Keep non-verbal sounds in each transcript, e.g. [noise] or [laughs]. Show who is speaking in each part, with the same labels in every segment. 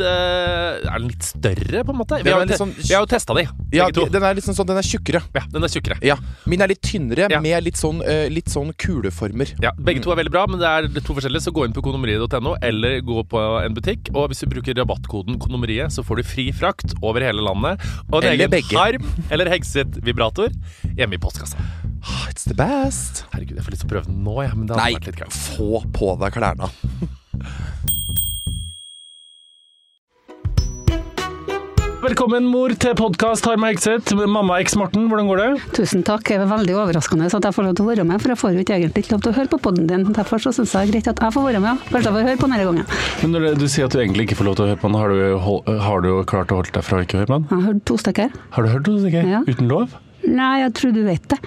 Speaker 1: eh, Er den litt større, på en måte? Vi
Speaker 2: Den
Speaker 1: har, jo
Speaker 2: er litt
Speaker 1: te-
Speaker 2: sånn-
Speaker 1: vi har jo testa de,
Speaker 2: ja,
Speaker 1: begge to.
Speaker 2: den er liksom sånn, den er tjukkere
Speaker 1: Ja, den er tjukkere.
Speaker 2: Ja, Min er litt tynnere,
Speaker 1: Ja.
Speaker 2: med litt sånn, eh, litt sånn kuleformer.
Speaker 1: Ja, begge
Speaker 2: Mm.
Speaker 1: to er veldig bra, men det er to forskjellige. Så gå inn på kondomeriet.no, eller gå på en butikk. Og hvis du bruker rabattkoden Kondomeriet, så får du fri frakt over hele landet. Og en
Speaker 2: Eller
Speaker 1: egen
Speaker 2: begge.
Speaker 1: harm eller hegset vibrator hjemme i postkassa.
Speaker 2: Ah, It's the best! Ah,
Speaker 1: Herregud, jeg får lyst til å prøve den nå, jeg. Men det hadde
Speaker 2: Nei,
Speaker 1: vært litt gøy.
Speaker 2: få på deg klærne.
Speaker 3: Velkommen, mor, til podkast Harma Exit. Mamma X Morten, hvordan går det?
Speaker 4: Tusen takk. Det er veldig overraskende at jeg får lov til å være med, for jeg får jo ikke egentlig ikke lov til å høre på podden din. Derfor så syns jeg det er greit at jeg får være med. ja. Kanskje jeg får høre på denne gangen.
Speaker 3: Men når du sier at du egentlig ikke får lov til å høre på den, har du, hol- har du klart å holde deg fra å ikke høre på den?
Speaker 4: Jeg har hørt to stykker.
Speaker 3: Har du hørt noe, ikke?
Speaker 4: Ja.
Speaker 3: Uten lov?
Speaker 4: Nei, jeg tror du vet det.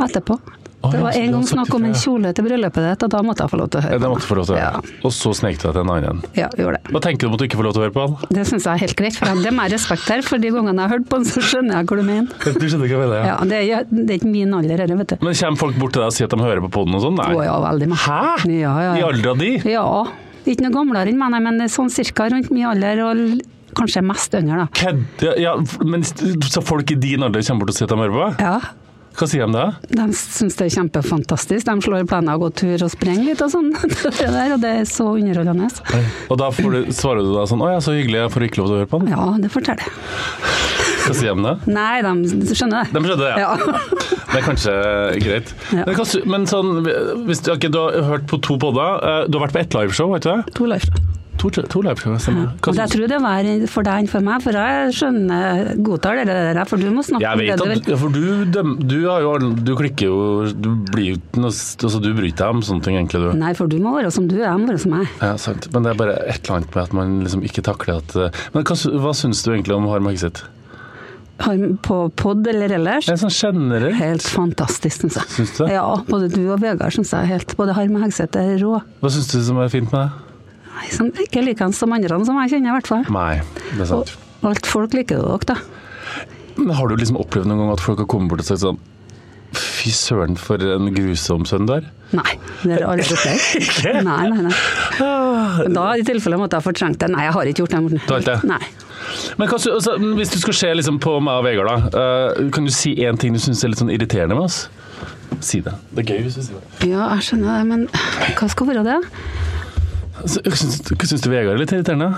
Speaker 4: Etterpå.
Speaker 3: Å,
Speaker 4: Det
Speaker 3: ja,
Speaker 4: var
Speaker 3: så du
Speaker 4: en
Speaker 3: har
Speaker 4: gang
Speaker 3: sagt
Speaker 4: snakk om en
Speaker 3: ifra,
Speaker 4: kjole til bryllupet ditt, og da måtte jeg få lov til å
Speaker 3: Ja,
Speaker 4: høre
Speaker 3: det
Speaker 4: på
Speaker 3: måtte du få lov til å
Speaker 4: Ja.
Speaker 3: høre. Og så snek du deg til en annen en.
Speaker 4: Ja, gjorde det.
Speaker 3: Hva tenker du om at du ikke får lov til å høre på den?
Speaker 4: Det syns jeg er helt greit, for jeg- det er mer respekt her. For de gangene jeg har hørt på den, så skjønner jeg hva du mener.
Speaker 3: [laughs] Du skjønner hva jeg mener?
Speaker 4: Ja, det er, det er ikke min alder, dette, vet du.
Speaker 3: Men kommer folk bort til deg og sier at de hører på poden og sånn? Nei.
Speaker 4: Å ja, veldig mye.
Speaker 3: Hæ?
Speaker 4: Ja, ja,
Speaker 3: I
Speaker 4: ja.
Speaker 3: aldra di?
Speaker 4: ja. Ikke noe gamlere enn meg, nei, men sånn cirka rundt min alder, og l- kanskje mest yngre, da.
Speaker 3: Kødde? Ja, men så folk i din alder kommer bort og sier at de hører på?
Speaker 4: Ja,
Speaker 3: Hva sier de da?
Speaker 4: de syns det er kjempefantastisk. De slår planer og går tur og sprenger litt og sånn. [laughs] Det der, og det er så underholdende.
Speaker 3: Og da får du, svarer du da sånn Å ja, så hyggelig, jeg får ikke lov til å høre på den.
Speaker 4: Ja, det forteller jeg.
Speaker 3: Hva sier de da?
Speaker 4: Nei, de skjønner det.
Speaker 3: De skjønner det, ja.
Speaker 4: Ja.
Speaker 3: Det er kanskje eh, greit.
Speaker 4: Ja.
Speaker 3: Men, hva sy- men sånn, hvis du, ok, du har hørt på to podder, eh, du har vært på ett liveshow, vet du det?
Speaker 4: To life.
Speaker 3: [laughs] To, to liveshow, stemmer det.
Speaker 4: Og
Speaker 3: Hva
Speaker 4: jeg
Speaker 3: syns-
Speaker 4: tror det var for deg enn for meg, for jeg skjønner, godtar det der, for du må snakke
Speaker 3: Jeg
Speaker 4: om det
Speaker 3: vet
Speaker 4: du
Speaker 3: at,
Speaker 4: vil.
Speaker 3: ja, for du, døm, du har jo, all- du klikker jo, du blir jo ikke noe, s- altså du bryr deg om sånne ting egentlig du.
Speaker 4: Nei, for du må være som du, jeg må være som jeg.
Speaker 3: Ja, sant. Men det er bare et eller annet med at man liksom ikke takler at, eh, men hva, sy- hva synes du egentlig om Harm Hexit?
Speaker 4: Har På pod eller ellers.
Speaker 3: Jeg er sånn generelt.
Speaker 4: Helt fantastisk, syns jeg.
Speaker 3: Syns du det?
Speaker 4: Ja, både du og Vegard syns jeg er helt Både Harm og Hegseth er rå.
Speaker 3: Hva synes du som er fint med det?
Speaker 4: Nei, som, ikke likens som andre som jeg kjenner, i hvert fall.
Speaker 3: Nei, det er sant.
Speaker 4: Og alt folk liker dere, da.
Speaker 3: Men har du liksom opplevd noen gang at folk har kommet bort og sagt sånn fy søren, for en grusom sønn du er.
Speaker 4: Nei, det har jeg
Speaker 3: [laughs]
Speaker 4: aldri opplevd. Nei, nei, nei. Men Da i tilfelle måtte jeg ha fortrengt det. Nei, jeg har ikke gjort det. Morten.
Speaker 3: har ikke det?
Speaker 4: Nei.
Speaker 3: Men hva, sy- altså, hvis du skulle se liksom på meg og Vegard, da, eh, kan du si én ting du syns er litt sånn irriterende med oss? Si det. Det er gøy hvis du sier det.
Speaker 4: Ja, jeg skjønner det, men hva skal være det?
Speaker 3: Altså, hva syns- Hva syns du Vegard er litt irriterende?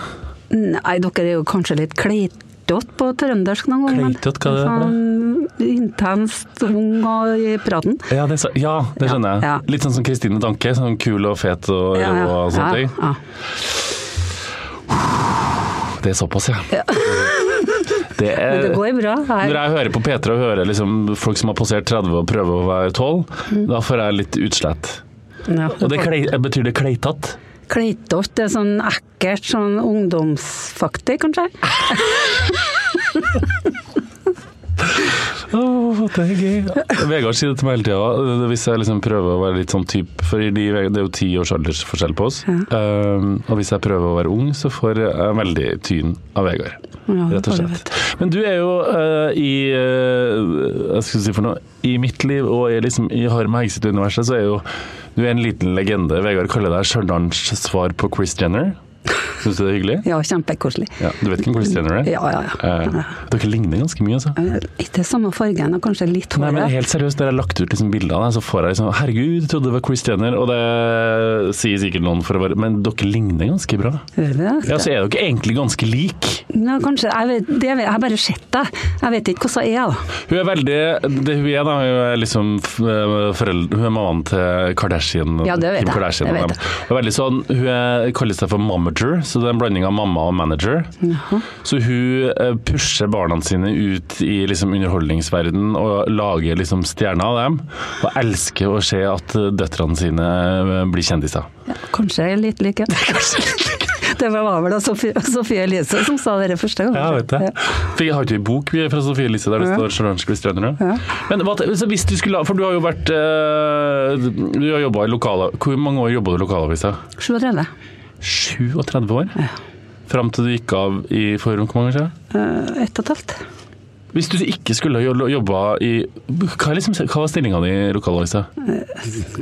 Speaker 4: Nei, dere er jo kanskje litt kleitete på trøndersk noen ganger. men
Speaker 3: Kleitete, hva er det for
Speaker 4: Sånn intenst ung og i praten.
Speaker 3: Ja, det, sa- ja, det skjønner jeg.
Speaker 4: Ja.
Speaker 3: Litt sånn som Kristine Danke. Sånn kul og fet og rå og sånne ting.
Speaker 4: ja.
Speaker 3: Det er såpass, ja. [laughs] Det
Speaker 4: Men
Speaker 3: er,
Speaker 4: det går bra. Jeg,
Speaker 3: når jeg hører på P3 og hører liksom folk som har passert 30 og prøver å være 12, da får jeg litt utslett.
Speaker 4: Mm. ja,
Speaker 3: Og det er klei, betyr det kleitatt?
Speaker 4: Kleitete det er sånn ekkelt, sånn ungdomsfaktig, kanskje?
Speaker 3: Åh, det er gøy. Vegard sier det til meg hele tida. Hvis jeg liksom prøver å være litt sånn type For det er jo ti års aldersforskjell på oss. Um, og hvis jeg prøver å være ung, så får jeg veldig tyn av Vegard.
Speaker 4: Ja, det
Speaker 3: Rett og
Speaker 4: får du
Speaker 3: slett. Men du er jo eh, i eh, Hva skal jeg si for noe? I mitt liv og i, liksom, i Harm og Hegseth-universet, så er jo du er en liten legende. Vegard kaller deg Stjørdals svar på Chris Jenner. Syns du det er hyggelig?
Speaker 4: Ja, kjempekoselig.
Speaker 3: Ja, du vet hvem Chris Jenner er?
Speaker 4: Ja, ja,
Speaker 3: Eh,
Speaker 4: ja.
Speaker 3: dere ligner ganske mye, altså.
Speaker 4: Eh, Ikke samme fargen, og kanskje litt
Speaker 3: Nei, men
Speaker 4: håret.
Speaker 3: helt seriøst, Når jeg har lagt ut liksom bilder av deg, så får jeg liksom Herregud, jeg trodde det var Chris Jenner, og det sier sikkert noen for å være Men dere ligner ganske bra.
Speaker 4: Hører vi det?
Speaker 3: Ja, så er dere egentlig ganske lik.
Speaker 4: Ja, kanskje. Jeg, vet, det, vet- jeg har bare sett deg. Jeg vet ikke hvordan jeg er. da.
Speaker 3: Hun er veldig Det hun er, da, hun er liksom f- foreldre Hun er mammaen til Kardashian.
Speaker 4: Ja, det vet
Speaker 3: Kim
Speaker 4: jeg.
Speaker 3: Kardashian,
Speaker 4: Det vet
Speaker 3: og dem. Hun er veldig sånn Hun er, kaller seg for momager, så det er en blanding av mamma og manager. Så hun eh, pusher barna sine ut i liksom underholdningsverden og lager liksom stjerner av dem. Og elsker å se at eh, døtrene sine eh, blir kjendiser.
Speaker 4: Ja, kanskje jeg er litt like.
Speaker 3: [laughs]
Speaker 4: [laughs] Det var vel da Sofie, Sofie Elise som sa det første gang.
Speaker 3: Ja, jeg vet det. For jeg har ikke en bok vi, fra Sofie Elise der det
Speaker 4: Ja.
Speaker 3: står Solange Kristianerød.
Speaker 4: Ja.
Speaker 3: Men hva, så hvis du skulle ha For du har jo vært eh, Du har jobba i lokala... Hvor mange år jobba du i lokalavisa?
Speaker 4: 37.
Speaker 3: 37 år? Fram til du gikk av i for hvor mange år siden?
Speaker 4: Eh, Ett og et halvt.
Speaker 3: Hvis du ikke skulle ha jo- jobba i Hva, er liksom, hva var stillinga di i lokalavisa?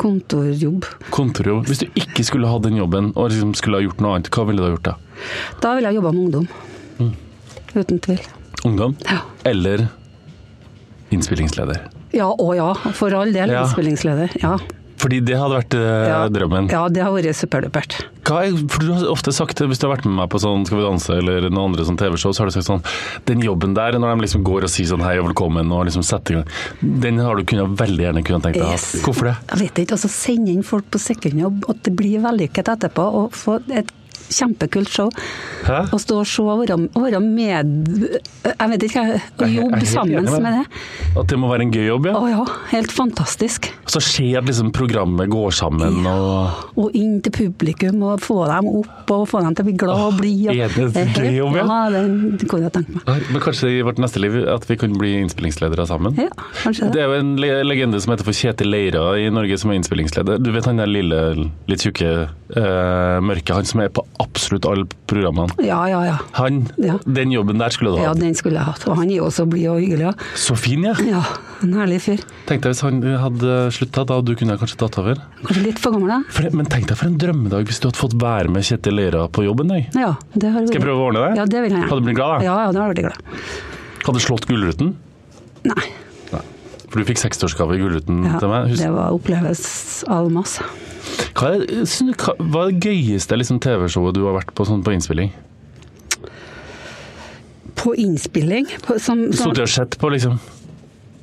Speaker 4: Kontorjobb.
Speaker 3: Kontorjobb. Hvis du ikke skulle ha den jobben og liksom skulle ha gjort noe annet, hva ville du ha gjort da?
Speaker 4: Da ville jeg jobba med ungdom.
Speaker 3: Mm.
Speaker 4: Uten tvil.
Speaker 3: Ungdom?
Speaker 4: Ja.
Speaker 3: Eller innspillingsleder?
Speaker 4: ja og ja, for all del.
Speaker 3: Ja.
Speaker 4: Innspillingsleder. Ja.
Speaker 3: Fordi det hadde vært eh,
Speaker 4: Ja.
Speaker 3: drømmen.
Speaker 4: ja, det har vært superdupert.
Speaker 3: Hva er, for du har ofte sagt det, Hvis du har vært med meg på sånn Skal vi danse eller noen andre sånn TV-show, så har du sagt sånn Den jobben der, når de liksom går og sier sånn hei og velkommen og liksom setter i gang, den har du kunnet, veldig gjerne kunnet tenkt deg. å ha.
Speaker 4: Yes.
Speaker 3: Hvorfor det?
Speaker 4: Jeg vet ikke. Og så sende inn folk på sekundjobb, at det blir vellykket etterpå. Og få et kjempekult show.
Speaker 3: Hæ?
Speaker 4: Å stå og se og være, og være med Jeg vet ikke,
Speaker 3: Jeg er-
Speaker 4: jeg- å
Speaker 3: jeg er
Speaker 4: jobbe
Speaker 3: helt
Speaker 4: sammen
Speaker 3: enig med
Speaker 4: med det.
Speaker 3: deg. At det må være en gøy jobb, ja.
Speaker 4: Å ja, helt fantastisk.
Speaker 3: Så skjer at liksom programmet går sammen og
Speaker 4: Og inn til publikum og få dem opp og få dem til å bli glad og blid. og-
Speaker 3: er det en
Speaker 4: helt-
Speaker 3: gøy jobb, ja?
Speaker 4: Ja, det det kunne jeg tenkt meg.
Speaker 3: Men kanskje i vårt neste liv at vi kan bli innspillingsledere sammen?
Speaker 4: Ja, kanskje
Speaker 3: Det
Speaker 4: det.
Speaker 3: er jo en le- legende som heter for Kjetil Leira i Norge, som er innspillingsleder. Du vet han der lille, litt tjukke, eh, mørke, han som er på absolutt alle programmene.
Speaker 4: Ja, ja, ja.
Speaker 3: Han,
Speaker 4: Ja.
Speaker 3: den jobben der skulle du
Speaker 4: Ja,
Speaker 3: ha.
Speaker 4: den skulle jeg hatt. Og han er jo så blid og hyggelig. ja.
Speaker 3: Så fin, ja.
Speaker 4: Ja, en herlig fyr.
Speaker 3: Tenk deg hvis han hadde slutta, da du kunne jeg kanskje tatt over.
Speaker 4: Kanskje litt for gammel, da.
Speaker 3: For, men tenk deg for en drømmedag hvis du hadde fått være med Kjetil Leira på jobben. Jeg.
Speaker 4: Ja, det har
Speaker 3: Skal jeg prøve å ordne det?
Speaker 4: Ja, det vil jeg.
Speaker 3: Hadde du blitt glad, da?
Speaker 4: Ja, ja, det hadde jeg blitt glad.
Speaker 3: Hadde slått Gullruten?
Speaker 4: Nei.
Speaker 3: For du fikk seksårsgave i Gullruten Mm,
Speaker 4: Ja,
Speaker 3: til meg.
Speaker 4: det
Speaker 3: Husk,
Speaker 4: var oppleves almas.
Speaker 3: hva, er, det- syns du- hva hva er det gøyeste liksom, TV-showet du har vært på sånn på innspilling?
Speaker 4: På innspilling på, som, som,
Speaker 3: Sittet og sett på, liksom.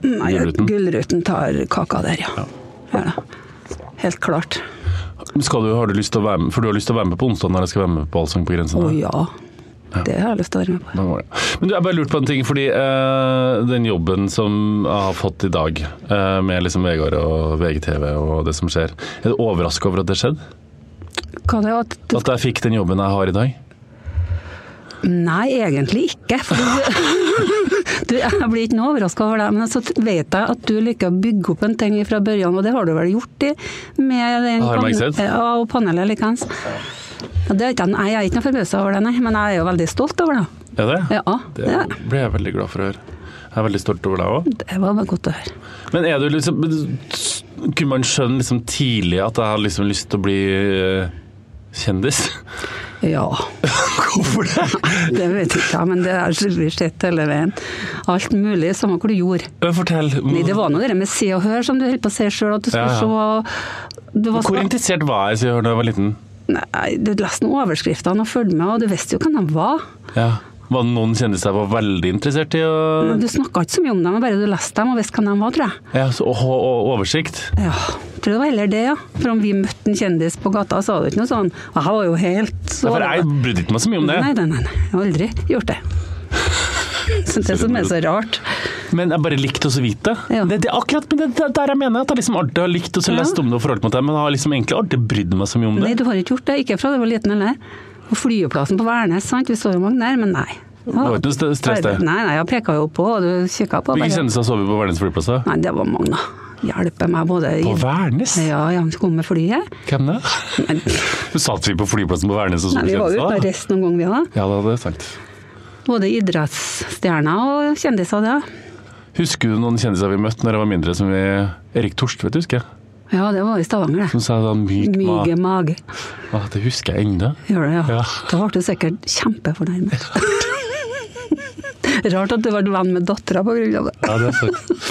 Speaker 4: Nei,
Speaker 3: Gullruten.
Speaker 4: Gullruten tar kaka der, ja. ja. Helt klart.
Speaker 3: Skal du, har du lyst til å være med, for du har lyst til å være med på onsdag når jeg skal være med på Allsang på grensen?
Speaker 4: Å
Speaker 3: da?
Speaker 4: ja. Det har jeg lyst til å være med på.
Speaker 3: Da var det. Men du, jeg bare lurt på en ting, fordi eh, den jobben som jeg har fått i dag, eh, med liksom Vegard og VGTV og det som skjer, er du overraska over at det skjedde?
Speaker 4: Hva det var at
Speaker 3: At jeg fikk den jobben jeg har i dag?
Speaker 4: Nei, egentlig ikke. For du, du, [laughs] jeg blir ikke noe overraska over det. Men så vet jeg at du liker å bygge opp en ting fra børjan, og det har du vel gjort i, med den
Speaker 3: Har jeg meg sett?
Speaker 4: ja, og panelet likeens. Ja, det er ikke, nei, jeg er ikke noe forbausa over det, nei, men jeg er jo veldig stolt over det.
Speaker 3: Er det?
Speaker 4: Ja,
Speaker 3: det
Speaker 4: det er
Speaker 3: ble jeg veldig glad for å høre. Jeg er veldig stolt over deg òg.
Speaker 4: Det var bare godt å høre.
Speaker 3: Men er du liksom Kunne man skjønne liksom tidlig at jeg hadde liksom lyst til å bli eh, kjendis?
Speaker 4: Ja.
Speaker 3: Hvorfor det?
Speaker 4: Det vet jeg ikke, men det har vi sett hele veien. Alt mulig, samme hva du gjorde.
Speaker 3: Men Fortell.
Speaker 4: Nei, det var nå det med se og hør som du holdt på å si sjøl, at du skulle
Speaker 3: Ja,
Speaker 4: se du var så-
Speaker 3: Hvor interessert var jeg siden jeg var liten?
Speaker 4: Nei, du leste noen overskriftene og fulgte med, og du visste jo hvem de var.
Speaker 3: Ja. Var det noen kjendiser jeg var veldig interessert i? Og,
Speaker 4: Men du snakka ikke så mye om dem, men bare du leste dem og visste hvem de var, tror jeg.
Speaker 3: ja, så, og, og oversikt?
Speaker 4: Ja, tror det var heller det, ja. For om vi møtte en kjendis på gata, så var det ikke noe sånn Jeg var jo helt så
Speaker 3: Ja, for jeg brydde ikke meg så mye om det.
Speaker 4: Nei, nei, nei. nei. Jeg har aldri gjort det. Så det som er så rart.
Speaker 3: Men jeg bare likte også å vite.
Speaker 4: Ja.
Speaker 3: Det, det er akkurat men det, det er der jeg mener at jeg liksom alltid har likt og så
Speaker 4: Ja.
Speaker 3: lest om det og forholdt meg til det, men jeg har liksom egentlig aldri brydd meg så mye om det.
Speaker 4: Nei, du har ikke gjort det. Ikke fra du var liten heller. Og flyplassen på Værnes, sant. Vi så jo mange der, men nei. Det
Speaker 3: var ikke noe st- stress, det.
Speaker 4: Nei, nei, jeg peka jo på, og du kikka på.
Speaker 3: Hvilke
Speaker 4: Bare.
Speaker 3: kjendiser så vi på Værnes flyplass? da?
Speaker 4: Nei, det var mange, da. Hjelpe meg både i-
Speaker 3: På Værnes?
Speaker 4: Ja, ja, han kom med flyet.
Speaker 3: Hvem det?
Speaker 4: Nei,
Speaker 3: [laughs] Satt vi på flyplassen på Værnes og så
Speaker 4: nei, vi var jo ute og
Speaker 3: kjendiser?
Speaker 4: reiste noen ganger, vi òg.
Speaker 3: Ja, det hadde jeg sagt.
Speaker 4: Både idrettsstjerner og kjendiser, det.
Speaker 3: Husker du noen kjendiser vi møtte når jeg var mindre, som vi Erik Torstvedt, husker jeg.
Speaker 4: Ja, det var i Stavanger, det.
Speaker 3: Som sa da myk
Speaker 4: Myge
Speaker 3: mat.
Speaker 4: mage.
Speaker 3: Ah, det husker jeg ennå.
Speaker 4: Gjør det, ja.
Speaker 3: Ja.
Speaker 4: Da ble du sikkert
Speaker 3: [laughs]
Speaker 4: kjempefornærmet. Rart at du ble venn med dattera på grunn av det.
Speaker 3: Ja, det er sant.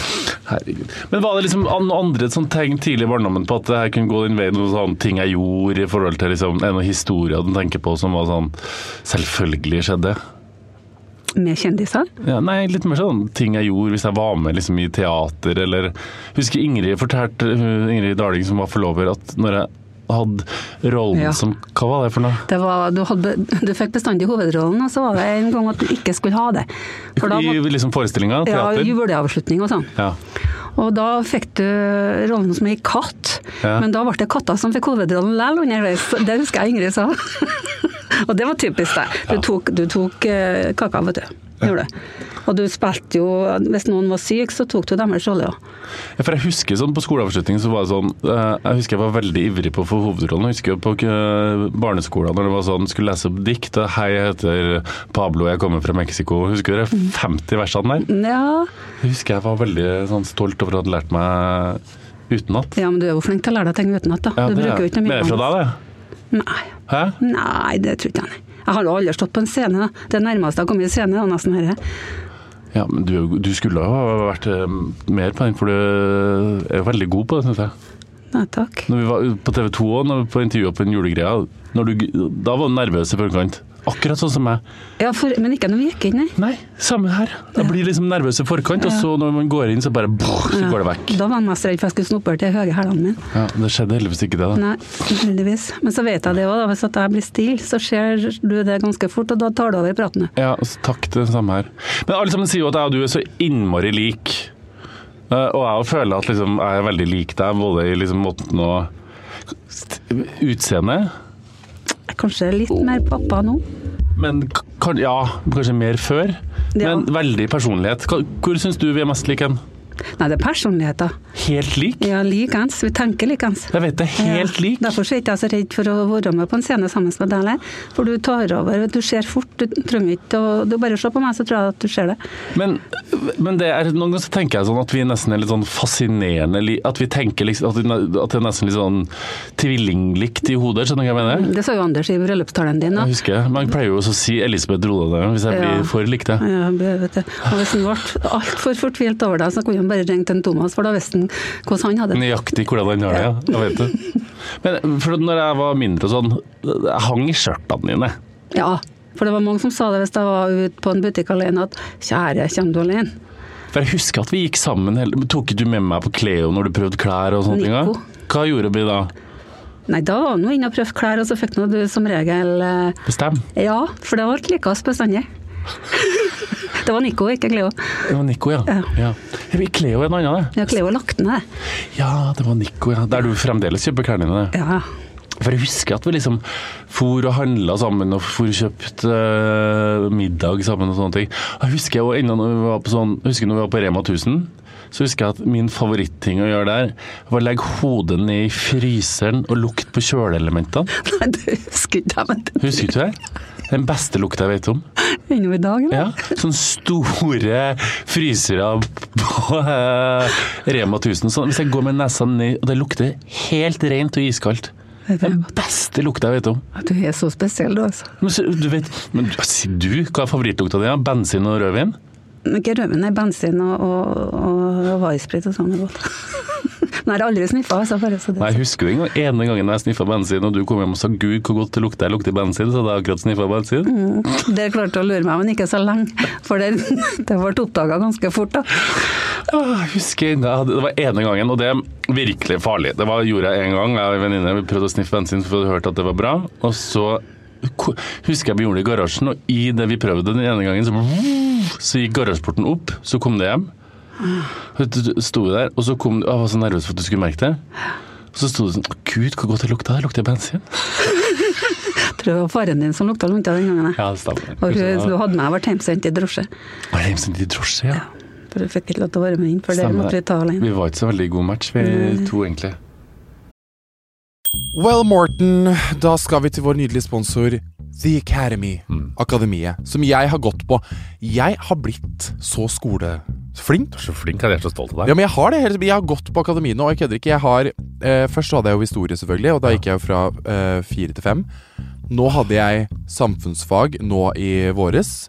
Speaker 3: Herregud. Men var det liksom an- andre sånn tegn tidlig i barndommen på at det her kunne gå den veien? Noen sånne sånn ting jeg gjorde i forhold til liksom, en av historiene du tenker på som var sånn Selvfølgelig skjedde.
Speaker 4: Med kjendiser.
Speaker 3: Ja, nei, litt mer sånn ting jeg gjorde hvis jeg var med liksom, i teater eller Husker Ingrid fortalte, hun- Ingrid Darling som var forlover, at når jeg hadde rollen
Speaker 4: Ja.
Speaker 3: som Hva var det for noe?
Speaker 4: Det var, du, hadde, du fikk bestandig hovedrollen, og så var det en gang at du ikke skulle ha det. For da
Speaker 3: I
Speaker 4: måtte,
Speaker 3: liksom forestillinga?
Speaker 4: ja,
Speaker 3: Teater? Ja,
Speaker 4: juleavslutning og sånn. Og da fikk du rollen som ei katt,
Speaker 3: Ja.
Speaker 4: men da ble det katta som fikk hovedrollen likevel underveis. Det husker jeg Ingrid sa. [laughs] og det var typisk deg. Du tok, du tok eh, kaka, vet du. Gjorde du. Og du spilte jo Hvis noen var syk, så tok du deres rolle òg.
Speaker 3: Ja, For jeg husker sånn på skoleavslutningen så var det sånn eh, Jeg husker jeg var veldig ivrig på å få hovedrollen. Jeg husker jo på eh, barneskolen når det var sånn skulle lese opp dikt. og Hei, jeg heter Pablo, jeg kommer fra Mexico. Husker du de 50 versene der?
Speaker 4: Ja,
Speaker 3: Jeg husker jeg var veldig sånn, stolt over å ha lært meg utenat.
Speaker 4: ja, men du er jo flink til å lære deg ting utenat, da.
Speaker 3: Ja,
Speaker 4: du
Speaker 3: det er-
Speaker 4: bruker jo ikke noe mye
Speaker 3: Det er fra
Speaker 4: annet.
Speaker 3: deg, det.
Speaker 4: Nei.
Speaker 3: Hæ?
Speaker 4: Nei, det tror ikke jeg. nei. Jeg har jo aldri stått på en scene. da. Det nærmeste jeg har kommet i scene, er nesten dette.
Speaker 3: Ja, men du, du skulle jo ha vært eh, mer på den, for du eh, er jo veldig god på det, syns jeg.
Speaker 4: Nei takk.
Speaker 3: Når vi var ute på TV 2 og når vi på intervjuet på den julegreia, når du, da var du nervøs i forkant. Akkurat sånn som meg.
Speaker 4: Ja, for, men ikke når vi gikk inn, nei.
Speaker 3: Nei, samme her. Jeg blir liksom nervøs i forkant, og så når man går inn, så bare brrr, så
Speaker 4: Ja.
Speaker 3: går det vekk.
Speaker 4: Da var jeg mest redd for jeg skulle snoppe til de høye hælene mine.
Speaker 3: Ja, det skjedde heldigvis ikke det, da.
Speaker 4: Nei, heldigvis. Men så vet jeg det òg, hvis at jeg blir stille, så ser du det ganske fort, og da tar du over praten. du.
Speaker 3: Ja, altså, takk det samme her. Men alle sammen sier jo at jeg og du er så innmari lik. Eh, Og jeg også føler at liksom, jeg er veldig lik deg, både i liksom måten å Utseende.
Speaker 4: Kanskje litt mer pappa nå.
Speaker 3: Men k- kan, ja, kanskje mer før.
Speaker 4: Ja.
Speaker 3: Men veldig personlighet. Hva- Hvor syns du vi er mest like? hen?
Speaker 4: Nei, det er personligheter.
Speaker 3: Helt lik?
Speaker 4: Ja, likens. Vi tenker likens.
Speaker 3: Jeg vet det. Helt
Speaker 4: Ja,
Speaker 3: lik.
Speaker 4: Derfor så er ikke jeg så redd for å være med på en scene sammen med deg heller. For du tar over, du ser fort, du trenger ikke å Du bare ser på meg, så tror jeg at du ser det.
Speaker 3: Men, men det er, noen ganger så tenker jeg sånn at vi nesten er litt sånn fascinerende li- At vi tenker liksom At, vi ne- at det er nesten litt sånn tvillinglikt i hodet. Skjønner du hva jeg mener?
Speaker 4: Det sa jo Anders i bryllupstalen din
Speaker 3: Jeg
Speaker 4: òg.
Speaker 3: husker, Man pleier jo også å si Elisabeth Rodal hvis jeg
Speaker 4: Ja.
Speaker 3: blir for lik det.
Speaker 4: Ja, vet du. Og hvis han ble altfor fortvilt over deg, så kunne han bare ringt en Thomas, for da visste han hvordan han hadde det.
Speaker 3: Nøyaktig hvordan han har det, ja. Jeg vet det. Men for at når jeg var mindre og sånn, jeg hang i skjørtene dine.
Speaker 4: Ja, for det var mange som sa det hvis jeg var ute på en butikk alene, at kjære, kommer du alene?
Speaker 3: For jeg husker at vi gikk sammen hele men Tok ikke du med meg på Cleo når du prøvde klær og sånne ting? da?
Speaker 4: Nico.
Speaker 3: Hva gjorde vi da?
Speaker 4: Nei, da var han jo inne og prøvde klær, og så fikk nå du som regel eh,
Speaker 3: Bestem.
Speaker 4: ja, for det var alt likest bestandig. [laughs] det var Nico, ikke Cleo.
Speaker 3: Det var Nico, ja.
Speaker 4: Ja.
Speaker 3: ja. Vi Cleo er en annen, det.
Speaker 4: Ja, Cleo har lagt ned, det.
Speaker 3: Ja, det var Nico, ja. Der du fremdeles kjøper klærne dine.
Speaker 4: Ja.
Speaker 3: For jeg husker at vi liksom for og handla sammen og for og kjøpte eh, middag sammen og sånne ting. Og Jeg husker jo ennå når vi var på sånn, jeg husker når vi var på Rema 1000, så husker jeg at min favoritting å gjøre der, var å legge hodet ned i fryseren og lukte på kjøleelementene.
Speaker 4: Nei, det husker ikke jeg, men det-
Speaker 3: Husker du det? Den beste lukta jeg vet om.
Speaker 4: Ennå i dag, eller?
Speaker 3: Ja, sånne store frysere på eh, Rema 1000. Sånn, hvis jeg går med nesa ned, og det lukter helt rent og iskaldt.
Speaker 4: Det er
Speaker 3: Den
Speaker 4: godt.
Speaker 3: beste lukta jeg vet om.
Speaker 4: Du er så spesiell, du, altså.
Speaker 3: Men, så, du vet, men du- sier du hva er favorittlukta di? er? Bensin og rødvin?
Speaker 4: Men Ikke rødvin, nei, bensin og, og, og varesprit og sånn er godt. [laughs] Nei, jeg har aldri sniffa, altså. Bare så det.
Speaker 3: Nei, jeg husker jo en gang, ene gangen jeg sniffa bensin, og du kom hjem og sa 'gud, hvor godt det lukter', jeg lukter bensin, så hadde jeg akkurat sniffa bensin.
Speaker 4: Der klarte å lure meg, men ikke så lenge. For det, det ble oppdaga ganske fort, da.
Speaker 3: Åh, Ah, Jeg husker enda, jeg hadde- Det var ene gangen, og det er virkelig farlig. Det var, gjorde jeg en gang. Jeg og en venninne vi prøvde å sniffe bensin for å hørte at det var bra. Og så ko- husker jeg vi gjorde det i garasjen, og i det vi prøvde den ene gangen, så, så gikk garasjeporten opp. Så kom det hjem. Så Sto vi der, og så kom Jeg var så nervøs for at du skulle merke det. Og så sto det sånn Gud, hvor godt det lukta. Det lukter bensin.
Speaker 4: Tror det var faren din som lukta lunta den gangen. jeg.
Speaker 3: Ja, det stemmer.
Speaker 4: Og
Speaker 3: Kanskje
Speaker 4: hun
Speaker 3: det var-
Speaker 4: hadde meg vært hjemsendt i drosje.
Speaker 3: Var det hjemsendt i drosje, ja.
Speaker 4: For jeg fikk ikke lov til å være med inn, for det
Speaker 3: Stemmer
Speaker 4: måtte vi ta alene.
Speaker 3: Vi var ikke så veldig god match, vi to, egentlig.
Speaker 2: Well, Morten, da skal vi til vår nydelige sponsor The Academy.
Speaker 1: Mm.
Speaker 2: Akademiet. Som jeg har gått på. Jeg har blitt så skoleflink.
Speaker 1: Så flink, jeg er så stolt av
Speaker 2: Ja,
Speaker 1: deg.
Speaker 2: men jeg har det. helt- Jeg har gått på akademiet nå. og Jeg kødder ikke. Jeg har, eh, først så hadde jeg jo historie, selvfølgelig, og da gikk jeg jo fra eh, fire til fem. Nå hadde jeg samfunnsfag nå i våres,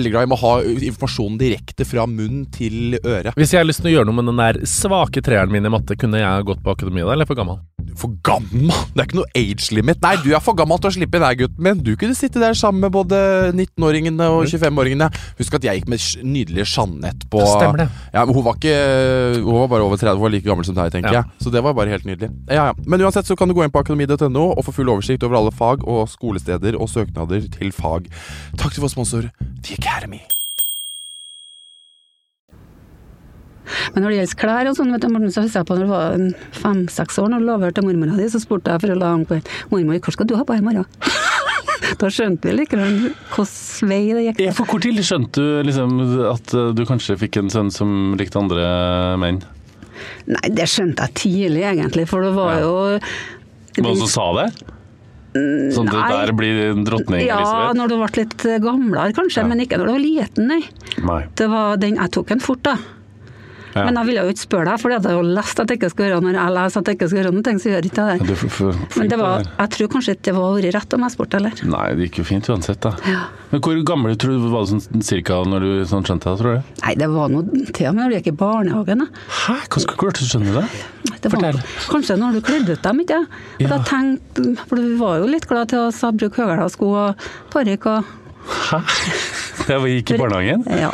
Speaker 2: Veldig glad i å ha informasjonen direkte fra munn til øre.
Speaker 1: Hvis jeg har lyst til å gjøre noe med den der svake treeren min i matte, kunne jeg ha gått på akademiet da, eller er jeg for gammel?
Speaker 2: For gammel! Det er ikke noe age limit. Nei, du er for gammel til å slippe inn her, gutten min. Du kunne sitte der sammen med både 19-åringene og 25-åringene. Husk at jeg gikk med sj- nydelige Jeanette på
Speaker 1: Stemmer Mm. det.
Speaker 2: Ja, men hun var ikke Hun var bare over 30, hun var like gammel som deg, tenker
Speaker 1: Ja.
Speaker 2: jeg. Så det var bare helt nydelig. Ja, ja. Men uansett så kan du gå inn på akademi.no og få full oversikt over alle fag og skolesteder og søknader til fag. Takk til vår sponsor The Academy.
Speaker 4: Men når det gjelder klær og sånn, vet du, Morten, så husker jeg på når jeg var fem-seks år, når du lå over til mormora di, så spurte jeg for å la ham gå inn. Mormor, hva skal du ha på i morgen? [laughs] da skjønte vi likevel hvilken vei det gikk.
Speaker 3: Ja, for hvor tidlig skjønte du liksom, at eh, du kanskje fikk en sønn som likte andre menn?
Speaker 4: Nei, det skjønte jeg tidlig, egentlig, for det var
Speaker 3: Ja.
Speaker 4: jo
Speaker 3: Var det noen som sa det? Sånn at det
Speaker 4: Mm, nei.
Speaker 3: der blir en dronning
Speaker 4: Ja,
Speaker 3: Elisabeth?
Speaker 4: når du ble litt eh, gamlere, kanskje, men ikke når du var liten, nei.
Speaker 3: Nei.
Speaker 4: Det var den jeg tok den fort, da.
Speaker 3: Ja.
Speaker 4: Men jeg ville jo ikke spørre deg, for jeg hadde jo lest at jeg ikke skal gjøre når jeg leser at jeg ikke skal gjøre noe, ting, så gjør jeg ikke
Speaker 3: Ja,
Speaker 4: det.
Speaker 3: Du er for, for, flink
Speaker 4: Men det
Speaker 3: til
Speaker 4: var,
Speaker 3: her.
Speaker 4: jeg tror kanskje ikke det var vært rett om jeg spurte, eller?
Speaker 3: Nei, det gikk jo fint uansett, da.
Speaker 4: Ja.
Speaker 3: Men hvor gammel tror du var du sånn cirka når du sånn, skjønte det, tror du?
Speaker 4: Nei, det var noe til og med når du gikk i barnehagen. da.
Speaker 3: Hæ, hvordan klarte du å skjønne det?
Speaker 4: Det var,
Speaker 3: Fortell.
Speaker 4: kanskje når du kledde ut dem, ikke Og Da
Speaker 3: Ja.
Speaker 4: tenkte, for du var jo litt glad til å sa- bruke høyhæla sko og parykk og
Speaker 3: Hæ? Det var- gikk i barnehagen?
Speaker 4: Ja,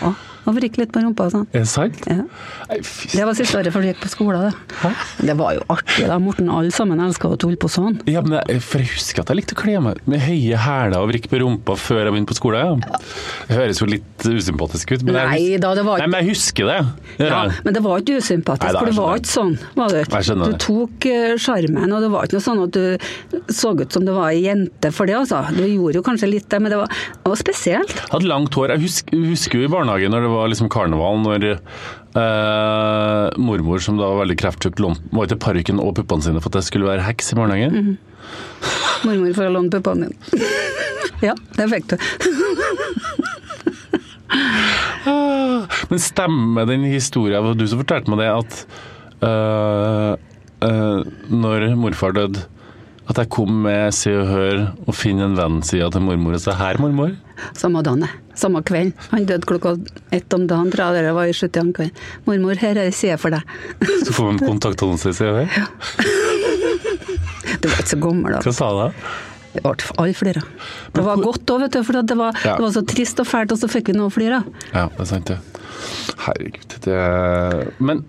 Speaker 4: og vrikke litt på rumpa og sånn.
Speaker 3: Er det sant?
Speaker 4: Ja.
Speaker 3: Nei, fy s-
Speaker 4: Det var siste året før du gikk på skolen, det.
Speaker 3: Hæ?
Speaker 4: Det var jo artig, da. Morten, alle sammen elska å tulle på sånn.
Speaker 3: Ja, men jeg, for jeg husker at jeg likte å kle meg ut med høye hæler og vrikke på rumpa før jeg begynte på skolen. Ja. Det høres jo litt usympatisk ut, men, jeg,
Speaker 4: Nei da, det var
Speaker 3: Nei, men jeg husker det. det
Speaker 4: Ja,
Speaker 3: gjør jeg.
Speaker 4: men det var ikke
Speaker 3: Nei,
Speaker 4: usympatisk,
Speaker 3: da,
Speaker 4: for det
Speaker 3: jeg
Speaker 4: var
Speaker 3: skjønner.
Speaker 4: ikke sånn. Var det ikke.
Speaker 3: Jeg skjønner
Speaker 4: Du
Speaker 3: det.
Speaker 4: tok eh, sjarmen, og det var ikke noe sånn at du så ut som det var ei jente for det, altså. Du gjorde jo kanskje litt det, men det var, det var spesielt.
Speaker 3: Hadde langt hår. Jeg husker, husker jo i barnehagen når det var liksom karneval, når eh, mormor, som da var veldig krefttjukk, lån- var til parykken og puppene sine for at jeg skulle være heks i barnehagen.
Speaker 4: Mormor får låne puppene dine. [laughs] ja, det fikk du.
Speaker 3: Ah, Men stemmer den historien Det var du som fortalte meg det, at eh, eh, når morfar døde at jeg kom med Se og Hør og Finn en venn-sida til mormor og sa 'her, mormor'?
Speaker 4: Samme dagen, samme kvelden. Han døde klokka ett om dagen, tror jeg det var i sjuttian kveld. Mormor, her er ei side for deg.
Speaker 3: Så får man kontaktannonse i Se og Hør.
Speaker 4: Du var ikke så gammel da.
Speaker 3: Hva sa du da?
Speaker 4: Det ble alle flira. Det var godt òg, vet du, for det var,
Speaker 3: Ja.
Speaker 4: det var så trist og fælt, og så fikk vi noe å flire av.
Speaker 3: Ja, det er sant, det. Herregud, det Men